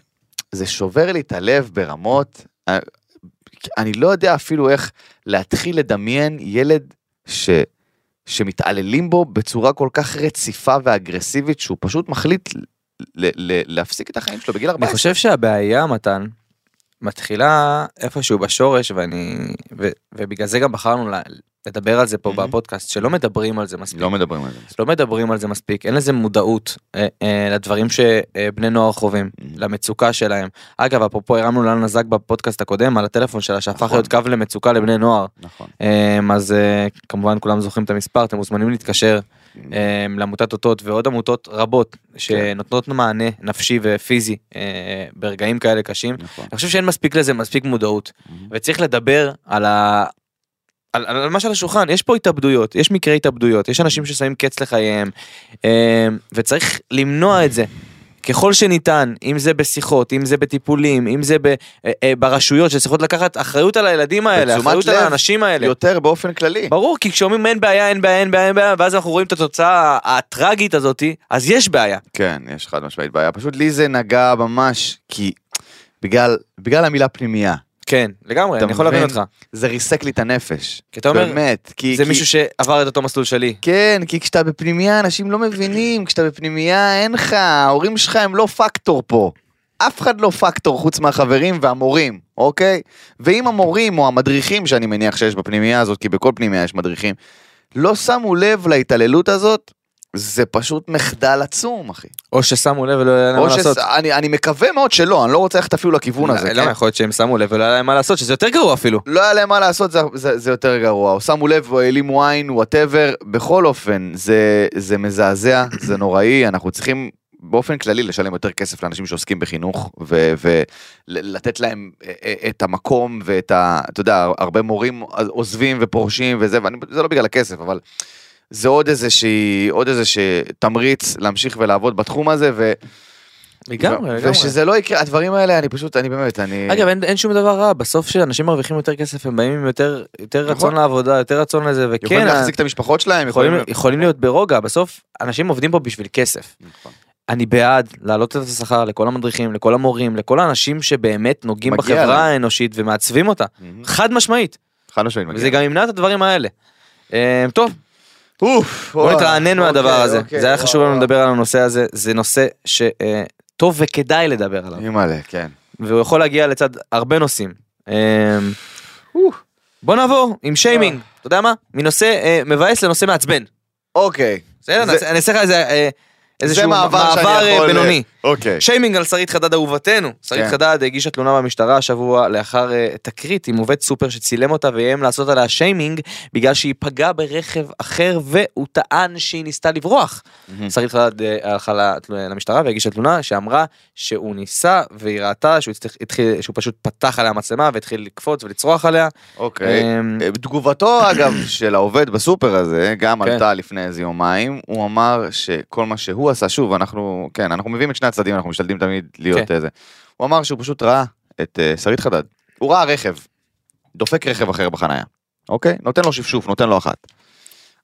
זה שובר לי את הלב ברמות, אה, אני לא יודע אפילו איך להתחיל לדמיין ילד ש, שמתעללים בו בצורה כל כך רציפה ואגרסיבית, שהוא פשוט מחליט ל, ל, להפסיק את החיים שלו בגיל 14. אני חושב שהבעיה מתן מתחילה איפשהו בשורש ואני ו- ובגלל זה גם בחרנו ל- לדבר על זה פה מהמם. בפודקאסט שלא מדברים על זה מספיק. Mhm. לא מדברים על זה. לא מדברים על זה מספיק אין לזה מודעות אה, אה, לדברים שבני נוער חווים Mhm. למצוקה שלהם אגב אפרופו הרמנו לאן נזק בפודקאסט הקודם על הטלפון שלה שהפך נכון. להיות קו למצוקה לבני נוער נכון. אה, אז אה, כמובן כולם זוכרים את המספר אתם מוזמנים להתקשר אה, לעמותת אותות ועוד עמותות רבות כן. שנותנות מענה נפשי ופיזי אה, ברגעים כאלה קשים נכון. אני חושב שאין מספיק לזה מספיק מודעות וצריך לדבר על ה... על, על, על מה שעל השולחן יש פה התאבדויות יש מקרי התאבדויות יש אנשים ששמים קץ לחייהם אה, וצריך למנוע את זה. ככל שניתן אם זה בשיחות אם זה בטיפולים אם זה ב, אה, אה, ברשויות שצריכות לקחת אחריות על הילדים האלה בתשומת אחריות על לב, האנשים האלה. יותר באופן כללי. ברור כי כשאומרים אין בעיה אין בעיה אין בעיה אין בעיה ואז אנחנו רואים את התוצאה הטראגית הזאתי אז יש בעיה. כן, יש חד משמעית בעיה. פשוט לי זה נגע ממש, כי בגלל, בגלל המילה פנימייה, כן לגמרי אתה אני יכול להבין מבין? אותך. זה ריסק לי את הנפש. כי אתה אומר, באמת, כי... זה כי... מישהו שעבר את אותו מסלול שלי. כן, כי כשאתה בפנימייה אנשים לא מבינים, כשאתה בפנימייה אין לך, ההורים שלך הם לא פקטור פה. אף אחד לא פקטור חוץ מהחברים והמורים, אוקיי? ואם המורים או המדריכים שאני מניח שיש בפנימייה הזאת, כי בכל פנימייה יש מדריכים, לא שמו לב להתעללות הזאת, זה פשוט מחדל עצום, אחי. או ששמו לב ולא היה להם או מה לעשות. ש... אני, אני מקווה מאוד שלא, אני לא רוצה ללכת אפילו לכיוון הזה. לא, כן? יכול להיות שהם שמו לב ולא היה להם מה לעשות, שזה יותר גרוע אפילו. לא היה להם מה לעשות, זה, זה, זה יותר גרוע. או שמו לב, או העלימו עין, וואטאבר. בכל אופן, זה, זה מזעזע, זה נוראי, אנחנו צריכים... באופן כללי לשלם יותר כסף לאנשים שעוסקים בחינוך ולתת להם אה, אה, את המקום ואת ה... אתה יודע, הרבה מורים עוזבים ופורשים וזה, וזה לא בגלל הכסף, אבל זה עוד איזה שהיא, עוד איזה שתמריץ להמשיך ולעבוד בתחום הזה, ו... לגמרי, ו- לגמרי. ושזה לא יקרה, הדברים האלה, אני פשוט, אני באמת, אני... אגב, אין, אין שום דבר רע, בסוף שאנשים מרוויחים יותר כסף, הם באים עם יותר, יותר נכון. רצון לעבודה, יותר רצון לזה, יכולים וכן, להחזיק את המשפחות שלהם, כן, יכולים, יכולים... יכולים להיות ברוגע, בסוף אנשים עובדים פה בשביל כסף. נכון. אני בעד להעלות את השכר לכל המדריכים, לכל המורים, לכל האנשים שבאמת נוגעים מגיע בחברה להם. האנושית ומעצבים אותה. חד משמעית, חד משמעית מגיע. נכון. וזה גם ימנע את הדברים האלה. אה, טוב, אוף, בוא וואו. נתרענן מהדבר אוקיי, הזה, אוקיי, זה היה וואו, חשוב לנו וואו. לדבר על הנושא הזה, זה נושא ש... אה, טוב וכדאי לדבר עליו. אימא'לה, כן. והוא יכול להגיע לצד הרבה נושאים. אמ, בוא נעבור עם אה. שיימינג, אתה יודע מה? מנושא אה, מבאס לנושא מעצבן. אוקיי. בסדר? זה- נעשה- אני אעשה לך איזה, אה, זה איזשהו מעבר שאני מעבר אה, יכול... בינוני. אוקיי. שיימינג על שרית חדד אהובתנו. שרית כן. חדד הגישה תלונה במשטרה השבוע לאחר אה, תקרית עם עובד סופר שצילם אותה ואיים לעשות עליה שיימינג בגלל שהיא פגעה ברכב אחר והוא טען שהיא ניסתה לברוח. מהמם. שרית חדד אה, הלכה לתל- למשטרה והגישה תלונה שאמרה שהוא ניסה והיא ראתה שהוא, הצליח, התחיל, שהוא פשוט פתח עליה מצלמה והתחיל לקפוץ ולצרוח עליה. אוקיי. אמ, אה, תגובתו אגב של העובד בסופר הזה גם כן. עלתה לפני איזה יומיים הוא אמר שכל מה שהוא עשה שוב אנחנו כן אנחנו מביאים את שני הצדדים אנחנו משתדלים תמיד להיות כן. איזה. הוא אמר שהוא פשוט ראה את אה, שרית חדד הוא ראה רכב דופק רכב אחר בחנייה אוקיי נותן לו שפשוף נותן לו אחת.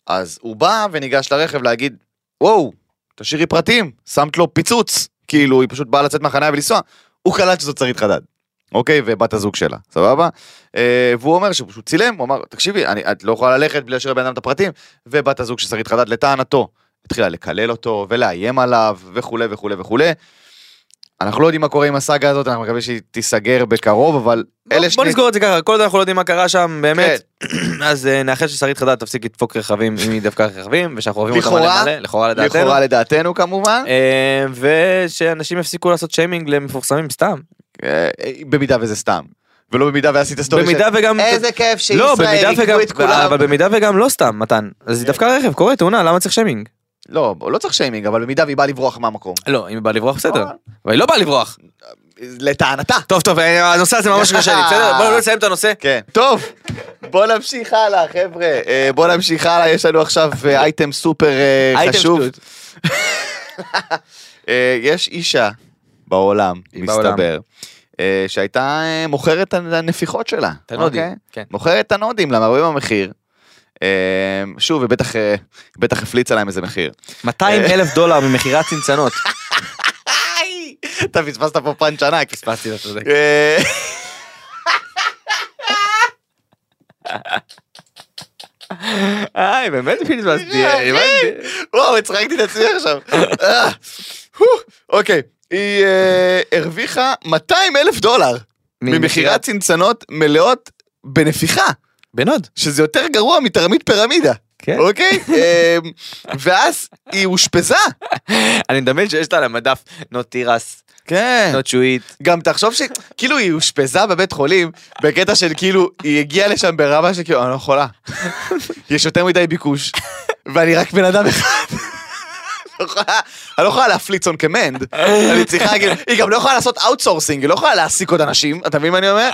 אז הוא בא וניגש לרכב להגיד וואו תשאירי פרטים שמת לו פיצוץ כאילו היא פשוט באה לצאת מהחנייה ולנסוע הוא קלט שזאת שרית חדד. אוקיי, ובת הזוג שלה, סבבה? אה, והוא אומר שהוא פשוט צילם, הוא אמר, תקשיבי, אני, את לא יכולה ללכת בלי להשאיר לבן אדם את הפרטים, ובת הזוג של שרית חדד, לטענתו, התחילה לקלל אותו, ולאיים עליו, וכולי וכולי וכולי. אנחנו לא יודעים מה קורה עם הסאגה הזאת, אנחנו מקווים שהיא תיסגר בקרוב, אבל אלה כן. בוא, בוא נסגור את זה ככה, כל עוד אנחנו לא יודעים מה קרה שם באמת, אז אה, נאחל ששרית חדד תפסיק לדפוק רכבים אם היא דפקה רכבים, ושאנחנו אוהבים אותה מלא לכאורה, מלא, לכאורה לדעתנו, לכאורה לדעתנו כמובן, אה, ושאנשים יפסיקו לעשות שיימינג למפורסמים סתם, אה, אה, במידה וזה סתם, ולא במידה ועשית סטורי של- במידה וגם, איזה כיף שישראל לא, במידה יקבו וגם, את כולם. אה. אבל במידה וגם לא סתם מתן, אז היא דפקה רכב, קורה תאונה, למה צריך שיימינג? לא, לא צריך שיימינג, אבל במידה והיא באה לברוח מהמקום. לא, אם היא באה לברוח בסדר, אוקיי. אבל היא לא באה לברוח. לטענתה. טוב טוב, אה, הנושא הזה ממש קשה לי, בסדר? בואו נסיים את הנושא. כן. טוב, בוא נמשיך הלאה, חבר'ה. אה, בוא נמשיך הלאה, יש לנו עכשיו אה, אייטם סופר אה, אייטם חשוב. שטות. אה, יש אישה בעולם, בעולם. מסתבר, אה, שהייתה אה, מוכרת הנפיחות שלה. את הנודים, אוקיי? כן. מוכרת את הנודים, למרבה במחיר. אה, שוב, היא בטח, אה, בטח הפליצה להם איזה מחיר. 200 אלף דולר ממכירת צנצנות. היי! אתה פספסת פה פאנץ' ענק. פספסתי, אתה צודק. אה, איי, באמת פספסתי, אה, הבנתי. וואו, הצחקתי את עצמי עכשיו. אה, הו, אוקיי, היא אה, הרוויחה 200 אלף דולר ממכירת- ממכירת צנצנות מלאות בנפיחה, בנוד. שזה יותר גרוע מתרמית פירמידה. כן. אוקיי? אמ, ואז היא אושפזה. אני מדמיין שיש לה על המדף נות תירס, כן. נות שועית. גם תחשוב שכאילו היא אושפזה בבית חולים בקטע של כאילו היא הגיעה לשם ברמה שכאילו אני לא יכולה. יש יותר מדי ביקוש ואני רק בן אדם אחד. אני לא יכולה- אני לא יכולה להפליץ on command, אני צריכה, כאילו, היא גם לא יכולה לעשות outsourcing, היא לא יכולה להעסיק עוד אנשים, אתה מבין מה אני אומר?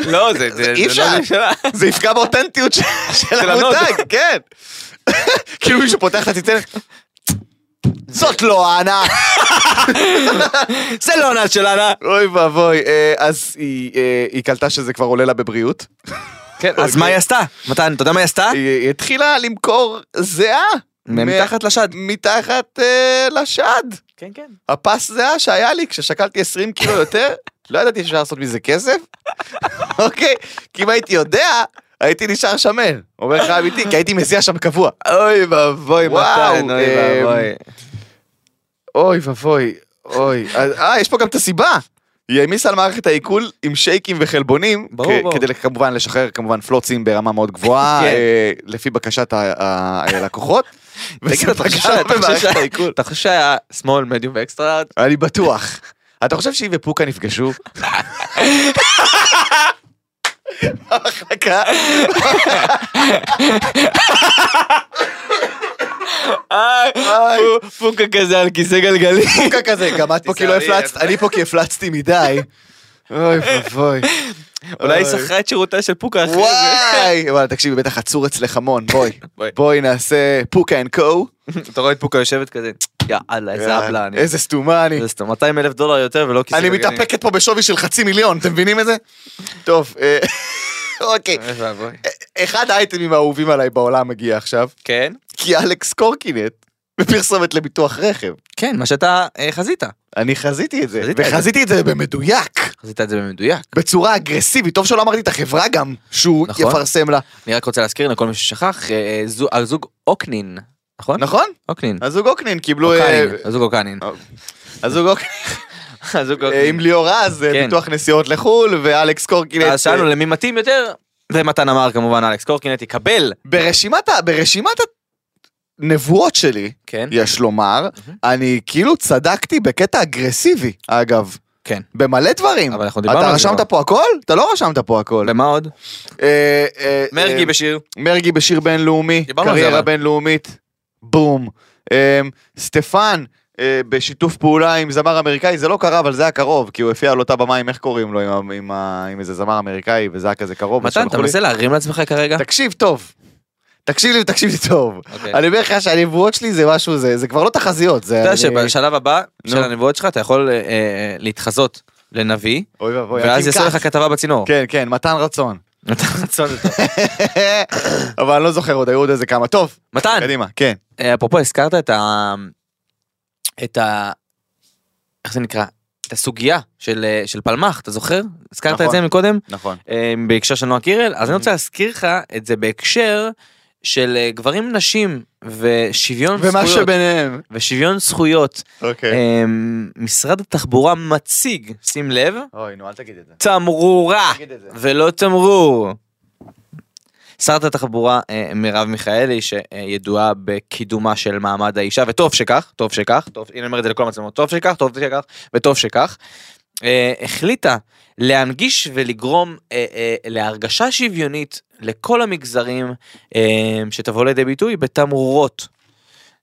לא, זה זה- אי זה לא אפשר, זה שלה. זה יפגע באותנטיות של- של של הנוד. המותג, כן. כאילו מישהו פותח את הציצנת, זאת לא הענה. זה לא עונה שלנו. אוי ואבוי, אה, אז היא, אה, היא קלטה שזה כבר עולה לה בבריאות. כן, אז מה היא עשתה? מתן, אתה יודע מה היא עשתה? היא היא התחילה למכור זיעה. מתחת לשד. מתחת אה, לשד. כן, כן. הפס זיעה שהיה לי כששקלתי 20 קילו יותר, לא ידעתי שאפשר לעשות מזה כסף. אוקיי, כי אם הייתי יודע, הייתי נשאר שמן. אומר לך אמיתי, כי הייתי מזיע שם קבוע. אוי ואבוי, וואו, מתן, אוי אמ, ואבוי. אוי ואבוי, אוי. אז- אה, יש פה גם את הסיבה. היא העמיסה על מערכת העיכול עם שייקים וחלבונים, ברור, כ- ברור. כדי כמובן לשחרר כמובן פלוצים ברמה מאוד גבוהה, כן. אה, לפי בקשת ה- ה- הלקוחות. תגיד, וזה אתה חושב פגע שה- אתה חושב במערכת שה- העיכול. אתה חושב שהיה שמאל, מדיום ואקסטרה? אני בטוח. אתה חושב שהיא ופוקה נפגשו? במחלקה? פו- פוקה כזה על כיסא גלגלים. פוקה כזה, גם את פה כי לא תיזהרי, הפלצת, אני פה כי הפלצתי מדי. אוי ואבוי. אולי היא אוי. שכרה את שירותה של פוקה אחרי זה. וואי! וואלה, תקשיבי, בטח עצור אצלך המון, בואי. בואי. בואי נעשה פוקה אנד קו. אה, אתה רואה את פוקה יושבת כזה, יאללה, איזה אבלה אני. איזה סתומה אני. זה סתם 200 אלף דולר יותר ולא כיסא אני גלגלים. מתאפקת פה בשווי של חצי מיליון, אתם מבינים את זה? טוב, אה, אוקיי. אוי ואבוי. אחד האייטמים האהובים עליי בעולם מגיע עכשיו, כן? כי אלכס קורקינט בפרסומת לביטוח רכב. כן, מה שאתה אה, חזית. אני חזיתי את זה, חזית את זה. וחזיתי את זה במדויק, חזית את זה במדויק. בצורה אגרסיבית. טוב שלא אמרתי את החברה גם, שהוא נכון. יפרסם לה. אני רק רוצה להזכיר לכל מי ששכח, אה, אה, זו- הזוג אוקנין, נכון? אוקיי, נכון? אוקנין. הזוג אוקנין קיבלו... אה, אוקנין, הזוג אוקנין. הזוג אוקנין. אז הוא אה, עם ליאור רז, אה, כן. ביטוח נסיעות לחו"ל, ואלכס קורקינט. אה, אז שאלנו למי מתאים יותר, ומתן אמר כמובן אלכס קורקינט יקבל. ברשימת ה- ברשימת הנבואות שלי, כן. יש לומר, מהמם. אני כאילו צדקתי בקטע אגרסיבי, אגב. כן. במלא דברים. אבל אנחנו דיברנו אתה על זה רשמת כבר. פה הכל? אתה לא רשמת פה הכל. ומה עוד? אה, אה, מרגי אה, בשיר. מרגי בשיר בינלאומי, דיברנו על זה, קריירה אבל. בינלאומית, בום. אמ, סטפן, אה, בשיתוף פעולה עם זמר אמריקאי, זה לא קרה, אבל זה היה קרוב, כי הוא הופיע על אותה במה עם איך קוראים לו, עם ה- עם ה- עם איזה זמר אמריקאי, וזה היה כזה קרוב. אז מתן, אתה שלחו לי- מנסה להרים לעצמך כרגע? תקשיב טוב. תקשיב לי ותקשיב לי טוב. אוקיי. אני אומר לך שהנבואות שלי זה משהו, זה זה כבר לא תחזיות, זה... אתה יודע אני- שבשלב הבא של נו. הנבואות שלך אתה יכול אה, אה, להתחזות לנביא, אוי ואבוי, ואז הקים יעשו כת. לך כתבה בצינור. כן, כן, מתן רצון. מתן רצון זה טוב. אבל אני לא זוכר עוד, היו עוד איזה כמה. טוב, מתן, קדימה, כן. אה, אפרופו הזכרת את ה... את ה... איך זה נקרא? את הסוגיה של אה, של פלמח, אתה זוכר? הזכרת נכון. את זה מקודם? נכון. אה, בהקשר של נועה קירל, אז אני Mhm. רוצה להזכיר לך את זה בהקשר של אה, גברים נשים ושוויון ומה זכויות. שביניהם. ושוויון זכויות. אוקיי. אה, משרד התחבורה מציג, שים לב, אוי, נו, אל תגיד את זה. תמרורה תגיד את זה. ולא תמרור. שרת התחבורה אה, מרב מיכאלי שידועה בקידומה של מעמד האישה וטוב שכך, טוב שכך, טוב, הנה אני אומר את זה לכל המצלמות, טוב שכך, טוב שכך וטוב שכך. אה, החליטה להנגיש ולגרום אה, אה, להרגשה שוויונית לכל המגזרים אה, שתבוא לידי ביטוי בתמרורות.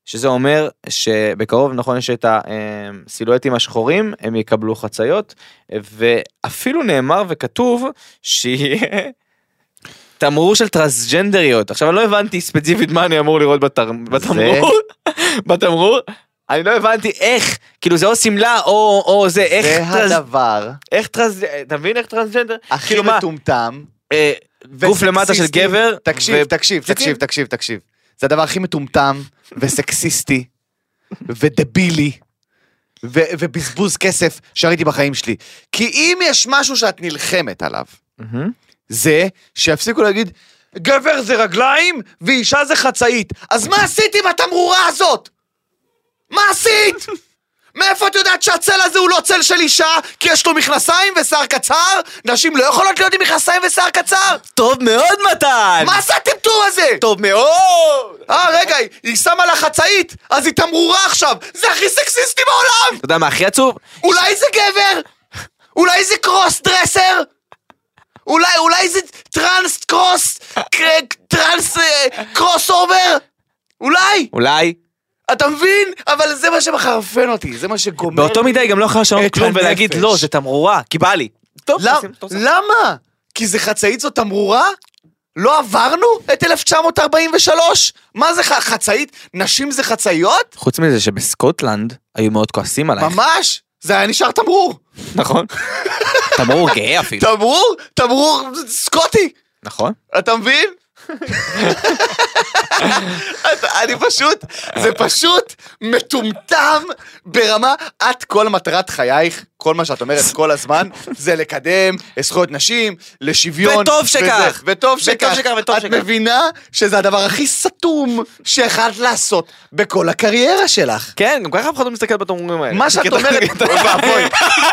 שזה אומר שבקרוב נכון יש את הסילואטים השחורים הם יקבלו חציות ואפילו נאמר וכתוב שיהיה תמרור של טרנסג'נדריות עכשיו אני לא הבנתי ספציפית מה אני אמור לראות בתר... בתמרור בתמרור אני לא הבנתי איך כאילו זה או שמלה או או זה איך זה טרנס- הדבר איך טרנס... אתה מבין איך טרנסג'נדר? הכי כאילו מה? מטומטם. אה, גוף וסקסיסטי. למטה של גבר. כאילו תקשיב, תקשיב, פציצים. תקשיב, תקשיב, תקשיב. זה הדבר הכי מטומטם, וסקסיסטי, ודבילי, ו- ובזבוז כסף שראיתי בחיים שלי. כי אם יש משהו שאת נלחמת עליו, מהמם. זה שיפסיקו להגיד, גבר זה רגליים ואישה זה חצאית. אז מה עשית עם התמרורה הזאת? מה עשית? מאיפה את יודעת שהצל הזה הוא לא צל של אישה? כי יש לו מכנסיים ושיער קצר? נשים לא יכולות להיות עם מכנסיים ושיער קצר? טוב מאוד מתן! מה עשה הטמטום הזה? טוב מאוד! אה, רגע, היא- היא שמה לה חצאית, אז היא תמרורה עכשיו! זה הכי סקסיסטי בעולם! אתה יודע מה הכי עצוב? אולי זה גבר? אולי זה קרוס דרסר? אולי, אולי זה טרנס קרוס, קרק- טרנס אה, קרוס אובר? אולי? אולי אתה מבין? אבל זה מה שמחרפן אותי, זה מה שגומר. באותו מידה היא גם לא יכולה לשנות את כלום ולהגיד הנפש. לא זה תמרורה כי בא לי. טוב, למ- תשים- תשים. לא, למה? כי זה חצאית זאת תמרורה? לא עברנו את 1943? מה זה ח- חצאית? נשים זה חצאיות? חוץ מזה שבסקוטלנד היו מאוד כועסים עלייך. ממש? זה היה נשאר תמרור. נכון. תמרור גאה אפילו. תמרור? תמרור סקוטי. נכון. אתה מבין? אתה- אני פשוט, זה פשוט מטומטם ברמה, את כל מטרת חייך, כל מה שאת אומרת כל הזמן, זה לקדם זכויות נשים, לשוויון. וטוב וזה- שכך. וטוב שכך. וטוב שכך, וטוב את שכך. מבינה שזה הדבר הכי סתום שיכולת לעשות בכל הקריירה שלך. כן גם ככה אף אחד לא מסתכל בתמרורים האלה. מה שאת קטע- אומרת, קטע- אוי ואבוי,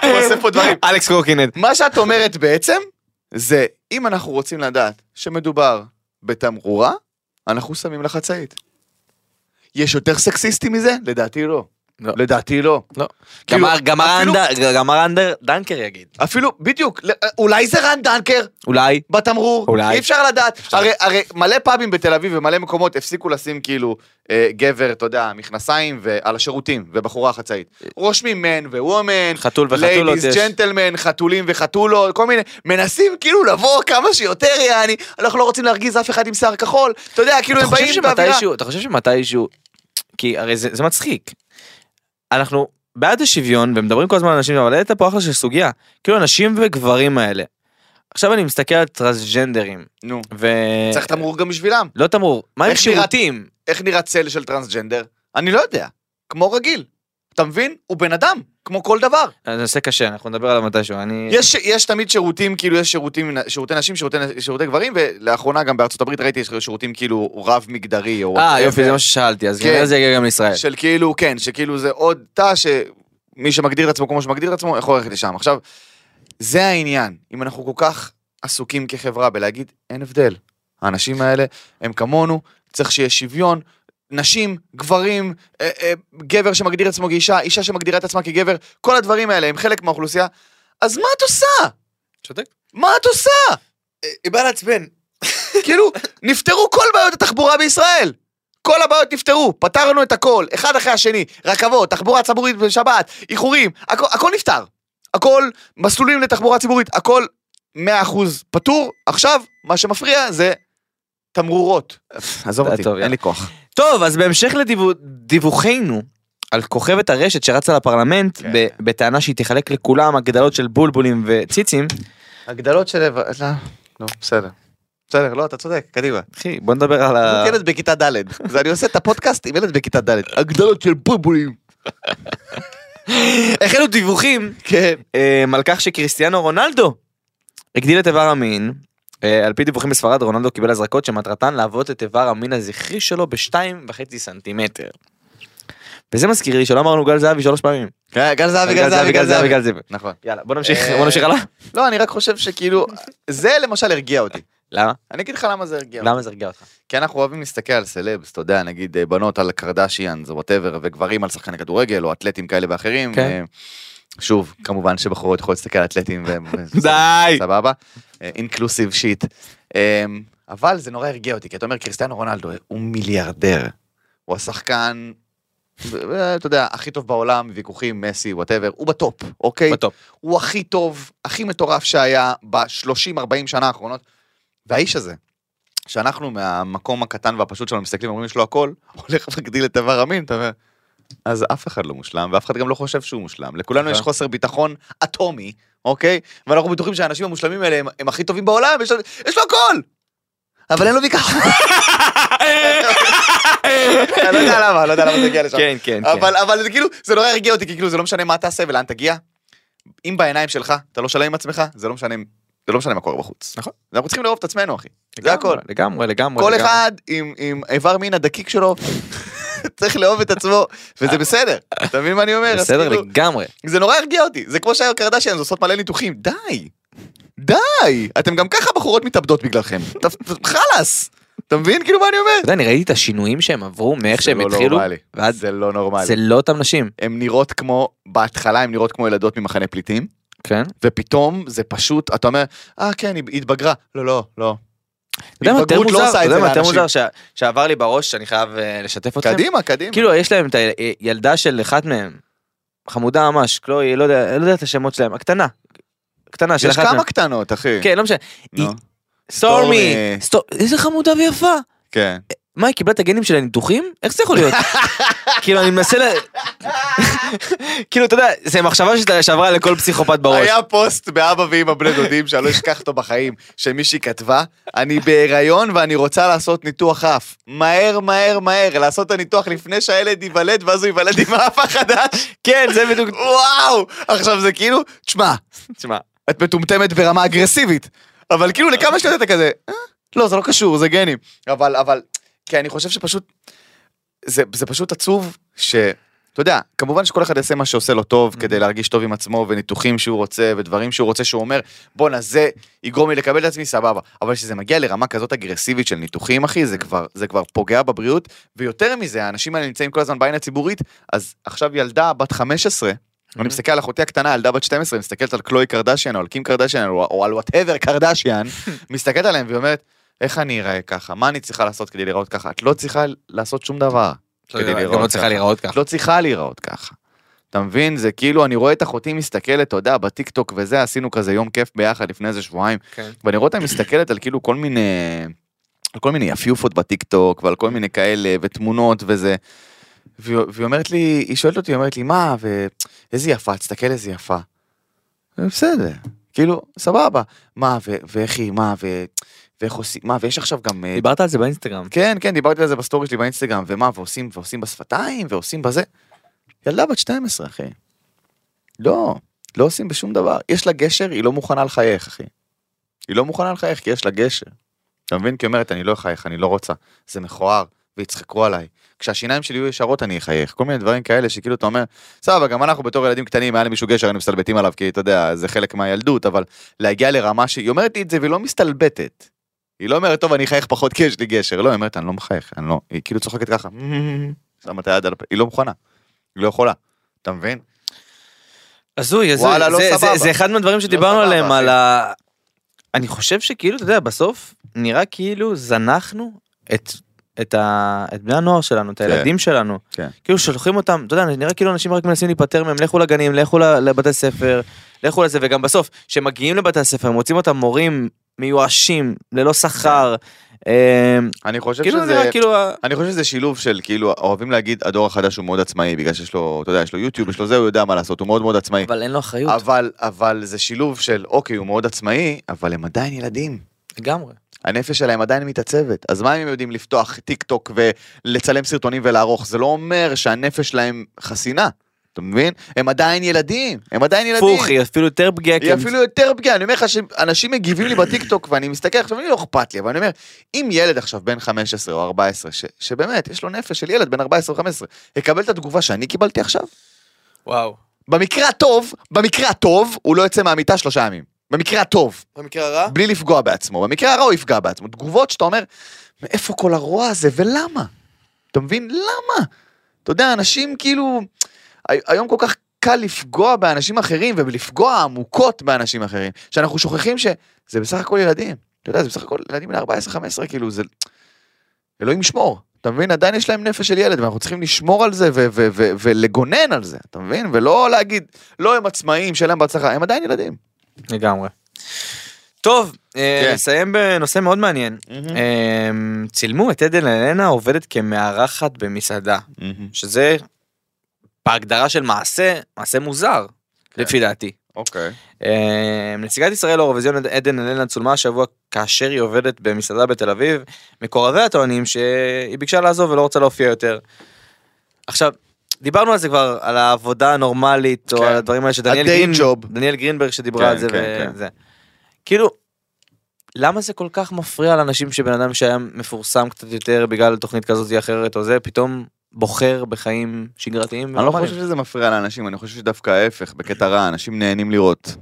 הוא עושה פה דברים. אלכס קורקינט. מה שאת אומרת בעצם, זה אם אנחנו רוצים לדעת שמדובר בתמרורה, אנחנו שמים לה חצאית. יש יותר סקסיסטי מזה? לדעתי לא. לא. לדעתי לא. לא. כאילו, גם ה- גם אפילו- הרנדר- גם הרנדר דנקר יגיד. אפילו, בדיוק, לא- אולי זה רן דנקר אולי. בתמרור. אולי. אי אפשר לדעת. הרי, הרי מלא פאבים בתל אביב ומלא מקומות הפסיקו לשים כאילו אה, גבר, אתה יודע, מכנסיים ועל השירותים, ובחורה חצאית. רושמים מן ווומן, חתול וחתולות ליידיז, יש. ג'נטלמן, חתולים וחתולות, כל מיני, מנסים כאילו לבוא כמה שיותר, יעני, אנחנו לא רוצים להרגיז אף אחד עם שיער כחול, אתה יודע, כאילו אתה הם חושב באים באווירה. שמתישהו, אתה חושב שמתישהו, כי הרי זה, זה מצחיק. אנחנו בעד השוויון ומדברים כל הזמן על אנשים, אבל העלית פה אחלה של סוגיה. כאילו הנשים וגברים האלה. עכשיו אני מסתכל על טרנסג'נדרים, נו, ו... צריך תמרור גם בשבילם. לא תמרור, מה עם איך נראה- שירותים? איך נראה צל של טרנסג'נדר? אני לא יודע, כמו רגיל. אתה מבין? הוא בן אדם, כמו כל דבר. זה נושא קשה, אנחנו נדבר עליו מתישהו, אני... יש, יש תמיד שירותים, כאילו יש שירותים, שירותי נשים, שירותי, שירותי גברים, ולאחרונה גם בארצות הברית ראיתי יש שירותים כאילו רב מגדרי, או... אה whatever. יופי, זה מה ששאלתי, אז כן. כנראה זה יגיע גם לישראל. של כאילו, כן, שכאילו זה עוד תא מי שמגדיר את עצמו כמו שמגדיר את עצמו, יכול ללכת לשם. עכשיו, זה העניין. אם אנחנו כל כך עסוקים כחברה בלהגיד, אין הבדל. האנשים האלה הם כמונו, צריך שיהיה שוויון. נשים, גברים, אה, אה, גבר שמגדיר עצמו כאישה, אישה שמגדירה את עצמה כגבר, כל הדברים האלה הם חלק מהאוכלוסייה. אז מה את עושה? צודק. מה את עושה? אה, היא באה לעצבן. כאילו, נפתרו כל בעיות התחבורה בישראל. כל הבעיות נפתרו, פתרנו את הכל, אחד אחרי השני, רכבות, תחבורה ציבורית בשבת, איחורים, הכ- הכל נפתר. הכל, מסלולים לתחבורה ציבורית, הכל 100% פתור. עכשיו, מה שמפריע זה תמרורות. עזוב זה אותי, טוב, אין יאללה. לי כוח. טוב, אז בהמשך לדיווחנו על כוכבת הרשת שרצה לפרלמנט כן. ב- בטענה שהיא תחלק לכולם הגדלות של בולבולים וציצים, הגדלות של... לא, בסדר. בסדר, לא, אתה צודק, קדימה. אחי, בוא נדבר על ה... זאת ילד בכיתה ד', אז אני עושה את הפודקאסט עם ילד בכיתה ד', הגדלות של בולבולים. החלו דיווחים כן. אמ, על כך שכריסטיאנו רונלדו הגדיל את איבר המין. אה, על פי דיווחים בספרד רונלדו קיבל הזרקות שמטרתן להוות את איבר המין הזכרי שלו בשתיים וחצי סנטימטר. וזה מזכיר לי שלא אמרנו גל זהבי שלוש פעמים. כן, גל זהבי, גל זהבי, גל זהבי. גל זהבי. נכון. יאללה בוא נמשיך אה, בוא נמשיך הלאה. לא, אני רק חושב שכאילו, זה למשל הרגיע אותי. למה? אני אגיד לך למה זה הרגיע אותי. למה זה הרגיע אותך? כי אנחנו אוהבים להסתכל על סלבס, אתה יודע, נגיד אה, בנות על קרדשיאנס או וואטאבר, וגברים על שחקני כדורגל או אתלטים כאלה ואחרים. כן. אה, שוב, כמובן שבחורות יכולות להסתכל על אתלטים והם... די. סבבה? אה, אינקלוסיב שיט. אמ, אבל זה נורא הרגיע אותי, כי אתה אומר, קריסטיאנו רונלדו הוא מיליארדר. הוא השחקן, ו- ו- אתה יודע, הכי טוב בעולם, ויכוחים, מסי, וואטאבר, הוא בטופ, אוקיי? בטופ. הוא הכי טוב, הכי מטורף שהיה ב-30-40 שנה האחרונות. והאיש הזה, שאנחנו מהמקום הקטן והפשוט שלנו מסתכלים, אומרים, יש לו הכל, הולך ומגדיל את איבר המין, אתה אומר, אז אף אחד לא מושלם, ואף אחד גם לא חושב שהוא מושלם. לכולנו יש נכון. חוסר ביטחון אטומי, אוקיי? ואנחנו בטוחים שהאנשים המושלמים האלה הם, הם הכי טובים בעולם, יש, לו- יש לו הכל! אבל אין לו ביטחון. אני לא יודע למה, לא יודע למה זה הגיע לשם. כן כן כן. אבל, אבל זה כאילו, זה נורא הרגיע אותי, כי כאילו זה לא משנה מה תעשה ולאן תגיע. אם בעיניים שלך אתה לא שלם עם עצמך, זה לא משנה, זה לא משנה מה קורה בחוץ. נכון. אנחנו צריכים לאהוב את עצמנו, אחי. זה הכל. לגמרי לגמרי. כל לגמרי. אחד עם, עם איבר מין הדקיק שלו, צריך לאהוב את עצמו, וזה בסדר. אתה מבין מה אני אומר? אז בסדר כאילו, לגמרי. זה נורא הרגיע אותי. זה כמו שהיו קרדשיאנס עושות מלא ניתוחים. די. די. אתם גם ככה בחורות מתאבדות בגללכם. ת- חלאס. אתה מבין כאילו מה אני אומר? אתה יודע, אני ראיתי את השינויים שהם עברו מאיך זה שהם לא התחילו. נורמלי. ועד- זה לא נורמלי. זה לא אותם נשים. הן נראות כמו, בהתחלה הן נראות כמו ילדות ממחנה פליטים, כן. ופתאום זה פשוט, אתה אומר, אה כן, היא היא התבגרה. לא, לא, לא. אתה יודע מה יותר התבגרות לא מוזר? עושה אתה את יודע זה מה יותר לאנשים. מוזר שה- שעבר לי בראש שאני חייב אה, לשתף אתכם? קדימה, קדימה. כאילו יש להם את הילדה של אחת מהם, חמודה ממש, קלוי, לא יודע, לא יודע את השמות שלהם, הקטנה. קטנה של יש אחת מהם. כמה קטנות, אחי. כן, לא משנה. נו, היא- סטורמי. סטורמי. סטור- איזה חמודה ויפה. כן. מה, היא קיבלה את הגנים של הניתוחים? איך זה יכול להיות? כאילו, אני מנסה ל... כאילו, אתה יודע, זה מחשבה שאתה- שעברה לכל פסיכופת בראש. היה פוסט באבא ואמא בני דודים שאני לא אשכח אותו בחיים, שמישהי כתבה, אני בהיריון ואני רוצה לעשות ניתוח אף. מהר, מהר, מהר, לעשות את הניתוח לפני שהילד ייוולד, ואז הוא ייוולד עם האף החדש. כן, זה בדיוק... וואו! עכשיו זה כאילו, תשמע, תשמע, את מטומטמת ברמה אגרסיבית. אבל כאילו לכמה שניות אתה כזה, "אה, לא, זה לא קשור, זה גנים. אבל, אבל, כי אני חושב שפשוט, זה, זה פשוט עצוב ש... אתה יודע, כמובן שכל אחד יעשה מה שעושה לו טוב כדי להרגיש טוב עם עצמו וניתוחים שהוא רוצה ודברים שהוא רוצה שהוא אומר בואנה זה יגרום לי לקבל את עצמי סבבה אבל כשזה מגיע לרמה כזאת אגרסיבית של ניתוחים אחי זה כבר זה כבר פוגע בבריאות ויותר מזה האנשים האלה נמצאים כל הזמן בעין הציבורית אז עכשיו ילדה בת 15 אני מסתכל על אחותי הקטנה, ילדה בת 12, מסתכלת על קלוי קרדשיאן, או על קים קרדשיאן, או, או על וואטאבר קרדשיאן, מסתכלת עליהם ואומרת, איך אני אראה ככה? מה אני צריכה לעשות כדי להיראות ככה? את לא צריכה לעשות שום דבר. כדי גם להיראות לא צריכה ככה. להיראות את ככה. לא צריכה להיראות ככה. אתה מבין? זה כאילו, אני רואה את אחותי מסתכלת, אתה יודע, בטיקטוק וזה, עשינו כזה יום כיף ביחד לפני איזה שבועיים, כן. ואני רואה אותה מסתכלת על כאילו כל מיני, על כל מיני יפיופות בטיקטוק, ועל כל מיני כאלה, ותמונות וזה. והיא והיא אומרת לי, היא שואלת אותי, היא אומרת לי, מה, ואיזה יפה, תסתכל איזה יפה. בסדר, כאילו, סבבה. מה, ו- ואיך היא, מה, ו- ואיך עושים, מה, ויש עכשיו גם... אה, דיברת על זה באינסטגרם. כן, כן, דיברתי על זה בסטורי שלי באינסטגרם, ומה, ועושים, ועושים בשפתיים, ועושים בזה. ילדה בת 12, אחי. לא, לא עושים בשום דבר. יש לה גשר, היא לא מוכנה לחייך, אחי. היא לא מוכנה לחייך, כי יש לה גשר. אתה מבין? כי היא אומרת, אני לא אחייך, אני לא רוצה. זה מכוער, ויצחקו עליי. כשהשיניים שלי יהיו ישרות אני אחייך, כל מיני דברים כאלה שכאילו אתה אומר, סבבה, גם אנחנו בתור ילדים קטנים, היה למישהו גשר, היינו מסתלבטים עליו, כי אתה יודע, זה חלק מהילדות, אבל להגיע לרמה שהיא אומרת לי את זה והיא לא מסתלבטת. היא לא אומרת, טוב, אני אחייך פחות כי יש לי גשר, לא, היא אומרת, אני לא מחייך, אני לא, היא כאילו צוחקת ככה, שמה את היד על הפ... היא לא מוכנה, היא לא יכולה, אתה מבין? הזוי, הזוי. וואלה, לא זה- זה- סבבה. זה אחד מהדברים שדיברנו סבבה, עליהם, אחי. על ה... אני חושב שכאילו, אתה יודע, בסוף נראה כאילו זנחנו את... את, ה... את בני הנוער שלנו, את הילדים שלנו, כן. כאילו שולחים אותם, אתה יודע, נראה כאילו אנשים רק מנסים להיפטר מהם, לכו לגנים, לכו ל- לבתי ספר, לכו לזה, וגם בסוף, כשמגיעים לבתי הספר, מוצאים אותם מורים מיואשים, ללא שכר, אה, כן. אני חושב כאילו זה שזה... נראה כאילו, ה- אני חושב שזה שילוב של כאילו אוהבים להגיד הדור החדש הוא מאוד עצמאי בגלל שיש לו אתה יודע יש לו יוטיוב יש לו זה הוא יודע מה לעשות הוא מאוד מאוד עצמאי אבל אין לו אחריות, אבל אבל זה שילוב של אוקיי הוא מאוד עצמאי אבל הם עדיין ילדים לגמרי. הנפש שלהם עדיין מתעצבת אז מה אם הם יודעים לפתוח טיק טוק ולצלם סרטונים ולערוך זה לא אומר שהנפש שלהם חסינה אתה מבין הם עדיין ילדים הם עדיין ילדים. הפוך, כן. היא אפילו יותר פגיעה, כי היא הם- אפילו יותר פגיעה, אני אומר לך שאנשים מגיבים לי בטיקטוק ואני מסתכל עכשיו, אני לא אכפת לי, אבל אני אומר, אם ילד עכשיו בן 15 או 14, ש, שבאמת, יש לו נפש של ילד בן 14 או 15, יקבל את התגובה שאני קיבלתי עכשיו? וואו. במקרה הטוב, במקרה הטוב, הוא לא יוצא מהמיטה שלושה ימים. במקרה הטוב, במקרה הרע? בלי לפגוע בעצמו. במקרה הרע הוא יפגע בעצמו. תגובות שאתה אומר, מאיפה כל הרוע הזה ולמה? אתה מבין? למה? אתה יודע, אנשים כאילו... הי- היום כל כך קל לפגוע באנשים אחרים ולפגוע עמוקות באנשים אחרים, שאנחנו שוכחים שזה בסך הכל ילדים. אתה יודע, זה בסך הכל ילדים בני 14-15, כאילו זה... אלוהים ישמור. אתה מבין? עדיין יש להם נפש של ילד, ואנחנו צריכים לשמור על זה ו- ו- ו- ולגונן על זה, אתה מבין? ולא להגיד, לא הם עצמאים, שיהיה להם בהצלחה, הם עדיין ילדים. לגמרי. טוב, אה, כן. Mm-hmm. נסיים בנושא מאוד מעניין. אה, צילמו את עדן אלנה עובדת כמארחת במסעדה, שזה בהגדרה של מעשה, מעשה מוזר, כן. לפי דעתי. אוקיי. אה, נציגת ישראל לאירוויזיון עדן אלנה צולמה השבוע כאשר היא עובדת במסעדה בתל אביב. מקורביה טוענים שהיא ביקשה לעזוב ולא רוצה להופיע יותר. עכשיו, דיברנו על זה כבר, על העבודה הנורמלית, או כן. על הדברים האלה שדניאל ה-day גרין, job. דניאל גרינברג שדיברה כן, על זה. כן, ו- כן. זה. כאילו, למה זה כל כך מפריע לאנשים שבן אדם שהיה מפורסם קצת יותר בגלל תוכנית כזאת או אחרת או זה, פתאום בוחר בחיים שגרתיים? אני לא ונורמליים? חושב שזה מפריע לאנשים, אני חושב שדווקא ההפך, בקטע רע, אנשים נהנים לראות.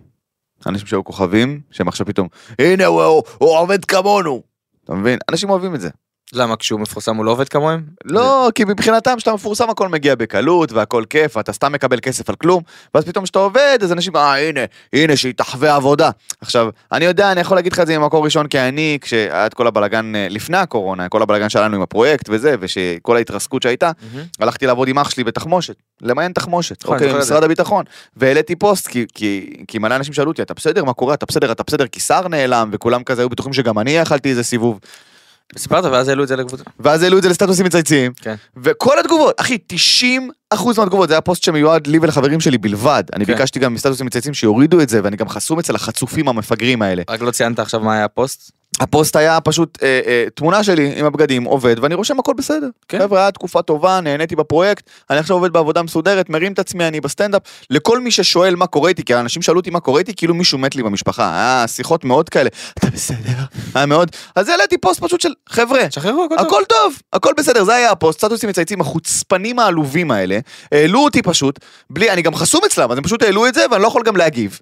אנשים שהיו כוכבים, שהם עכשיו פתאום, הנה הוא, הוא, הוא עובד כמונו. אתה מבין? אנשים אוהבים את זה. למה כשהוא מפורסם הוא לא עובד כמוהם? לא, כי מבחינתם כשאתה מפורסם הכל מגיע בקלות והכל כיף, ואתה סתם מקבל כסף על כלום, ואז פתאום כשאתה עובד, אז אנשים, אה הנה, הנה שהיא תחווה עבודה. עכשיו, אני יודע, אני יכול להגיד לך את זה ממקור ראשון, כי אני, כשהיה את כל הבלגן אה, לפני הקורונה, כל הבלגן שלנו עם הפרויקט וזה, ושכל ההתרסקות שהייתה, מהמם. הלכתי לעבוד עם אח שלי בתחמושת, למיין תחמושת, נכון, אוקיי, זוכר את משרד הביטחון, והעליתי פוסט כי- כי כי מלא אנשים שאלו אותי, אתה בסדר, מה קורה, אתה בסדר, אתה בסדר, כי שר נעלם, וכולם כזה היו בטוחים שגם אני אכלתי איזה סיבוב, סיפרת ואז העלו את זה לקבוצה. ואז העלו את זה לסטטוסים מצייצים, כן. וכל התגובות, אחי, 90% מהתגובות, זה היה פוסט שמיועד לי ולחברים שלי בלבד, אני כן. ביקשתי גם מסטטוסים מצייצים שיורידו את זה, ואני גם חסום אצל החצופים המפגרים האלה. רק לא ציינת עכשיו מה היה הפוסט. הפוסט היה פשוט אה, אה, תמונה שלי עם הבגדים, עובד, ואני רושם הכל בסדר. כן. כן. חבר'ה, היה תקופה טובה, נהניתי בפרויקט, אני עכשיו עובד בעבודה מסודרת, מרים את עצמי, אני בסטנדאפ. לכל מי ששואל מה קורה איתי, כי האנשים שאלו אותי מה קורה איתי, כאילו מישהו מת לי במשפחה. היה שיחות מאוד כאלה, אתה בסדר? היה מאוד. אז העליתי פוסט פשוט של, חבר'ה, שחררו הכל טוב. הכל טוב, הכל בסדר, זה היה הפוסט, סטטוסים מצייצים, החוצפנים העלובים האלה, העלו אותי פשוט, בלי, אני גם חסום אצלם, אז הם פשוט העלו את זה ואני לא יכול גם להגיב.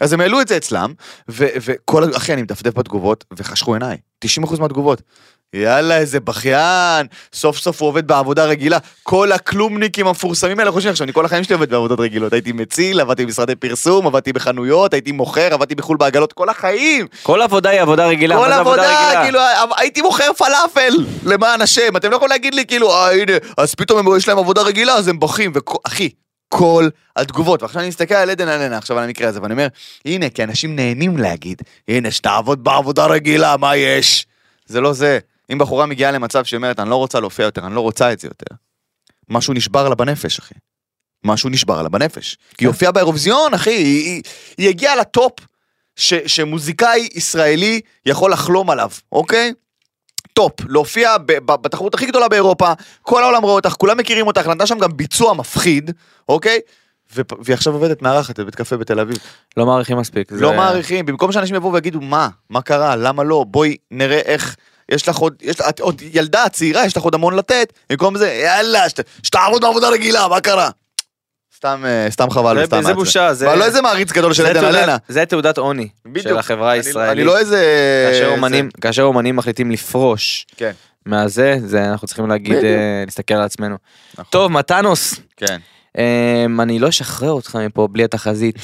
אז הם העלו את זה אצלם, ו- וכל, ה- אחי, אני מדפדף בתגובות, וחשכו עיניי, 90% מהתגובות. יאללה, איזה בכיין, סוף סוף הוא עובד בעבודה רגילה. כל הכלומניקים המפורסמים האלה חושבים עכשיו, אני כל החיים שלי עובד בעבודות רגילות. הייתי מציל, עבדתי במשרדי פרסום, עבדתי בחנויות, הייתי מוכר, עבדתי בחו"ל בעגלות, כל החיים. כל עבודה היא עבודה רגילה. מה כל זה עבודה, רגילה? כאילו, הייתי מוכר פלאפל, למען השם. אתם לא יכולים להגיד לי, כאילו, אה, הנה, אז פתאום הם- יש להם עבודה רגילה, אז הם בוכים. וכו- אחי, כל התגובות. ועכשיו אני מסתכל על עדן אלנה, עכשיו על המקרה הזה, ואני אומר, הנה, כי אנשים נהנים להגיד, הנה, שתעבוד בעבודה רגילה, מה יש? זה לא זה. אם בחורה מגיעה למצב שהיא אומרת, אני לא רוצה להופיע יותר, אני לא רוצה את זה יותר. משהו נשבר לה בנפש, אחי. משהו נשבר לה בנפש. כן. כי היא הופיעה באירוויזיון, אחי, היא, היא, היא הגיעה לטופ ש, שמוזיקאי ישראלי יכול לחלום עליו, אוקיי? טופ, להופיע ב, ב, בתחרות הכי גדולה באירופה, כל העולם רואה אותך, כולם מכירים אותך, נתנה שם גם ביצוע מפחיד, אוקיי? ופ- והיא עכשיו עובדת מארחת בבית קפה בתל אביב. לא מעריכים מספיק. לא מעריכים, במקום שאנשים יבואו ויגידו מה, מה קרה, למה לא, בואי נראה איך יש לך עוד, יש לך, את עוד ילדה צעירה, יש לך עוד המון לתת, במקום זה, יאללה, שת- שתעבוד בעבודה רגילה, מה קרה? סתם, אה, סתם חבל, זה- וסתם זה מעצבן. בושה, זה- אבל לא איזה מעריץ גדול של זה עדן תעודת- אלנה. זה תעודת עוני של בדיוק. החברה אני- הישראלית. אני לא איזה... כאשר זה- אומנים- כאשר אומנים מחליטים לפרוש כן. מהזה, זה אנחנו צריכים להגיד, בדיוק. אה, להסתכל על עצמנו. נכון. טוב, מתנוס, כן. אמ, אני לא אשחרר אותך מפה בלי התחזית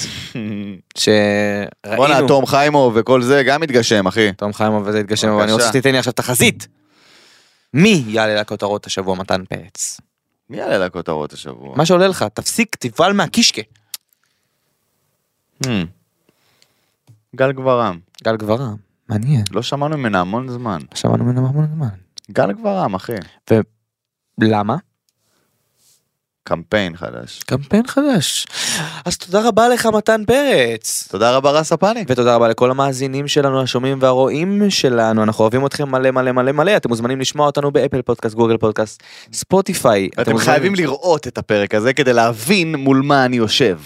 בואנה, שראינו. תום חיימו וכל זה גם מתגשם, אחי. תום חיימוב וזה התגשם, אבל אני בבקשה. רוצה שתיתן לי עכשיו תחזית. מי יעלה לכותרות השבוע מתן פרץ? מי יעלה לכותרות השבוע? מה שעולה לך, תפסיק, תפעל מהקישקה. Hmm. גל גברם. גל גברם, מעניין. לא שמענו ממנה המון זמן. שמענו ממנו המון זמן. גל גברם, אחי. למה? קמפיין חדש. קמפיין חדש. אז תודה רבה לך מתן פרץ. תודה רבה, רס הפאני. ותודה רבה לכל המאזינים שלנו, השומעים והרואים שלנו, אנחנו אוהבים אתכם מלא מלא מלא מלא, אתם מוזמנים לשמוע אותנו באפל פודקאסט, גוגל פודקאסט, ספוטיפיי. אתם מוזמנים- חייבים לראות את הפרק הזה כדי להבין מול מה אני יושב.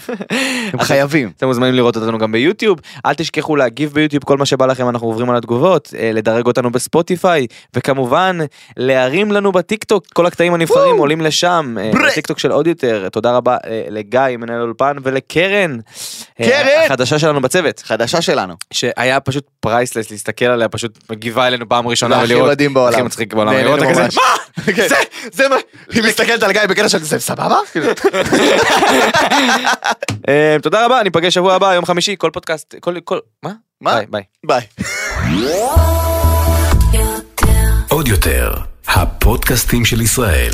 אתם חייבים. אתם מוזמנים לראות אותנו גם ביוטיוב, אל תשכחו להגיב ביוטיוב כל מה שבא לכם, אנחנו עוברים על התגובות, אה, לדרג אותנו בספוטיפיי, וכמובן להרים לנו בטיקטוק, כל הקטעים הנבחרים עולים לשם, אה, ברה. בטיקטוק של עוד יותר, תודה רבה אה, לגיא מנהל אולפן ולקרן, אה, קרן! החדשה שלנו בצוות, חדשה שלנו. שהיה פשוט פרייסלס להסתכל עליה, פשוט מגיבה אלינו פעם ראשונה זה הכי ולראות, מדהים בעולם. הכי מצחיק בעולם, נהנינו לראות אותה כזה, ממש. כן. זה מה, כן. היא מסתכלת על גיא בקטע של זה סבבה? כאילו, אה, תודה רבה, ניפגש שבוע הבא, יום חמישי, כל פודקאסט, כל, כל, מה? מה? ביי, ביי. ביי. עוד יותר, הפודקאסטים של ישראל.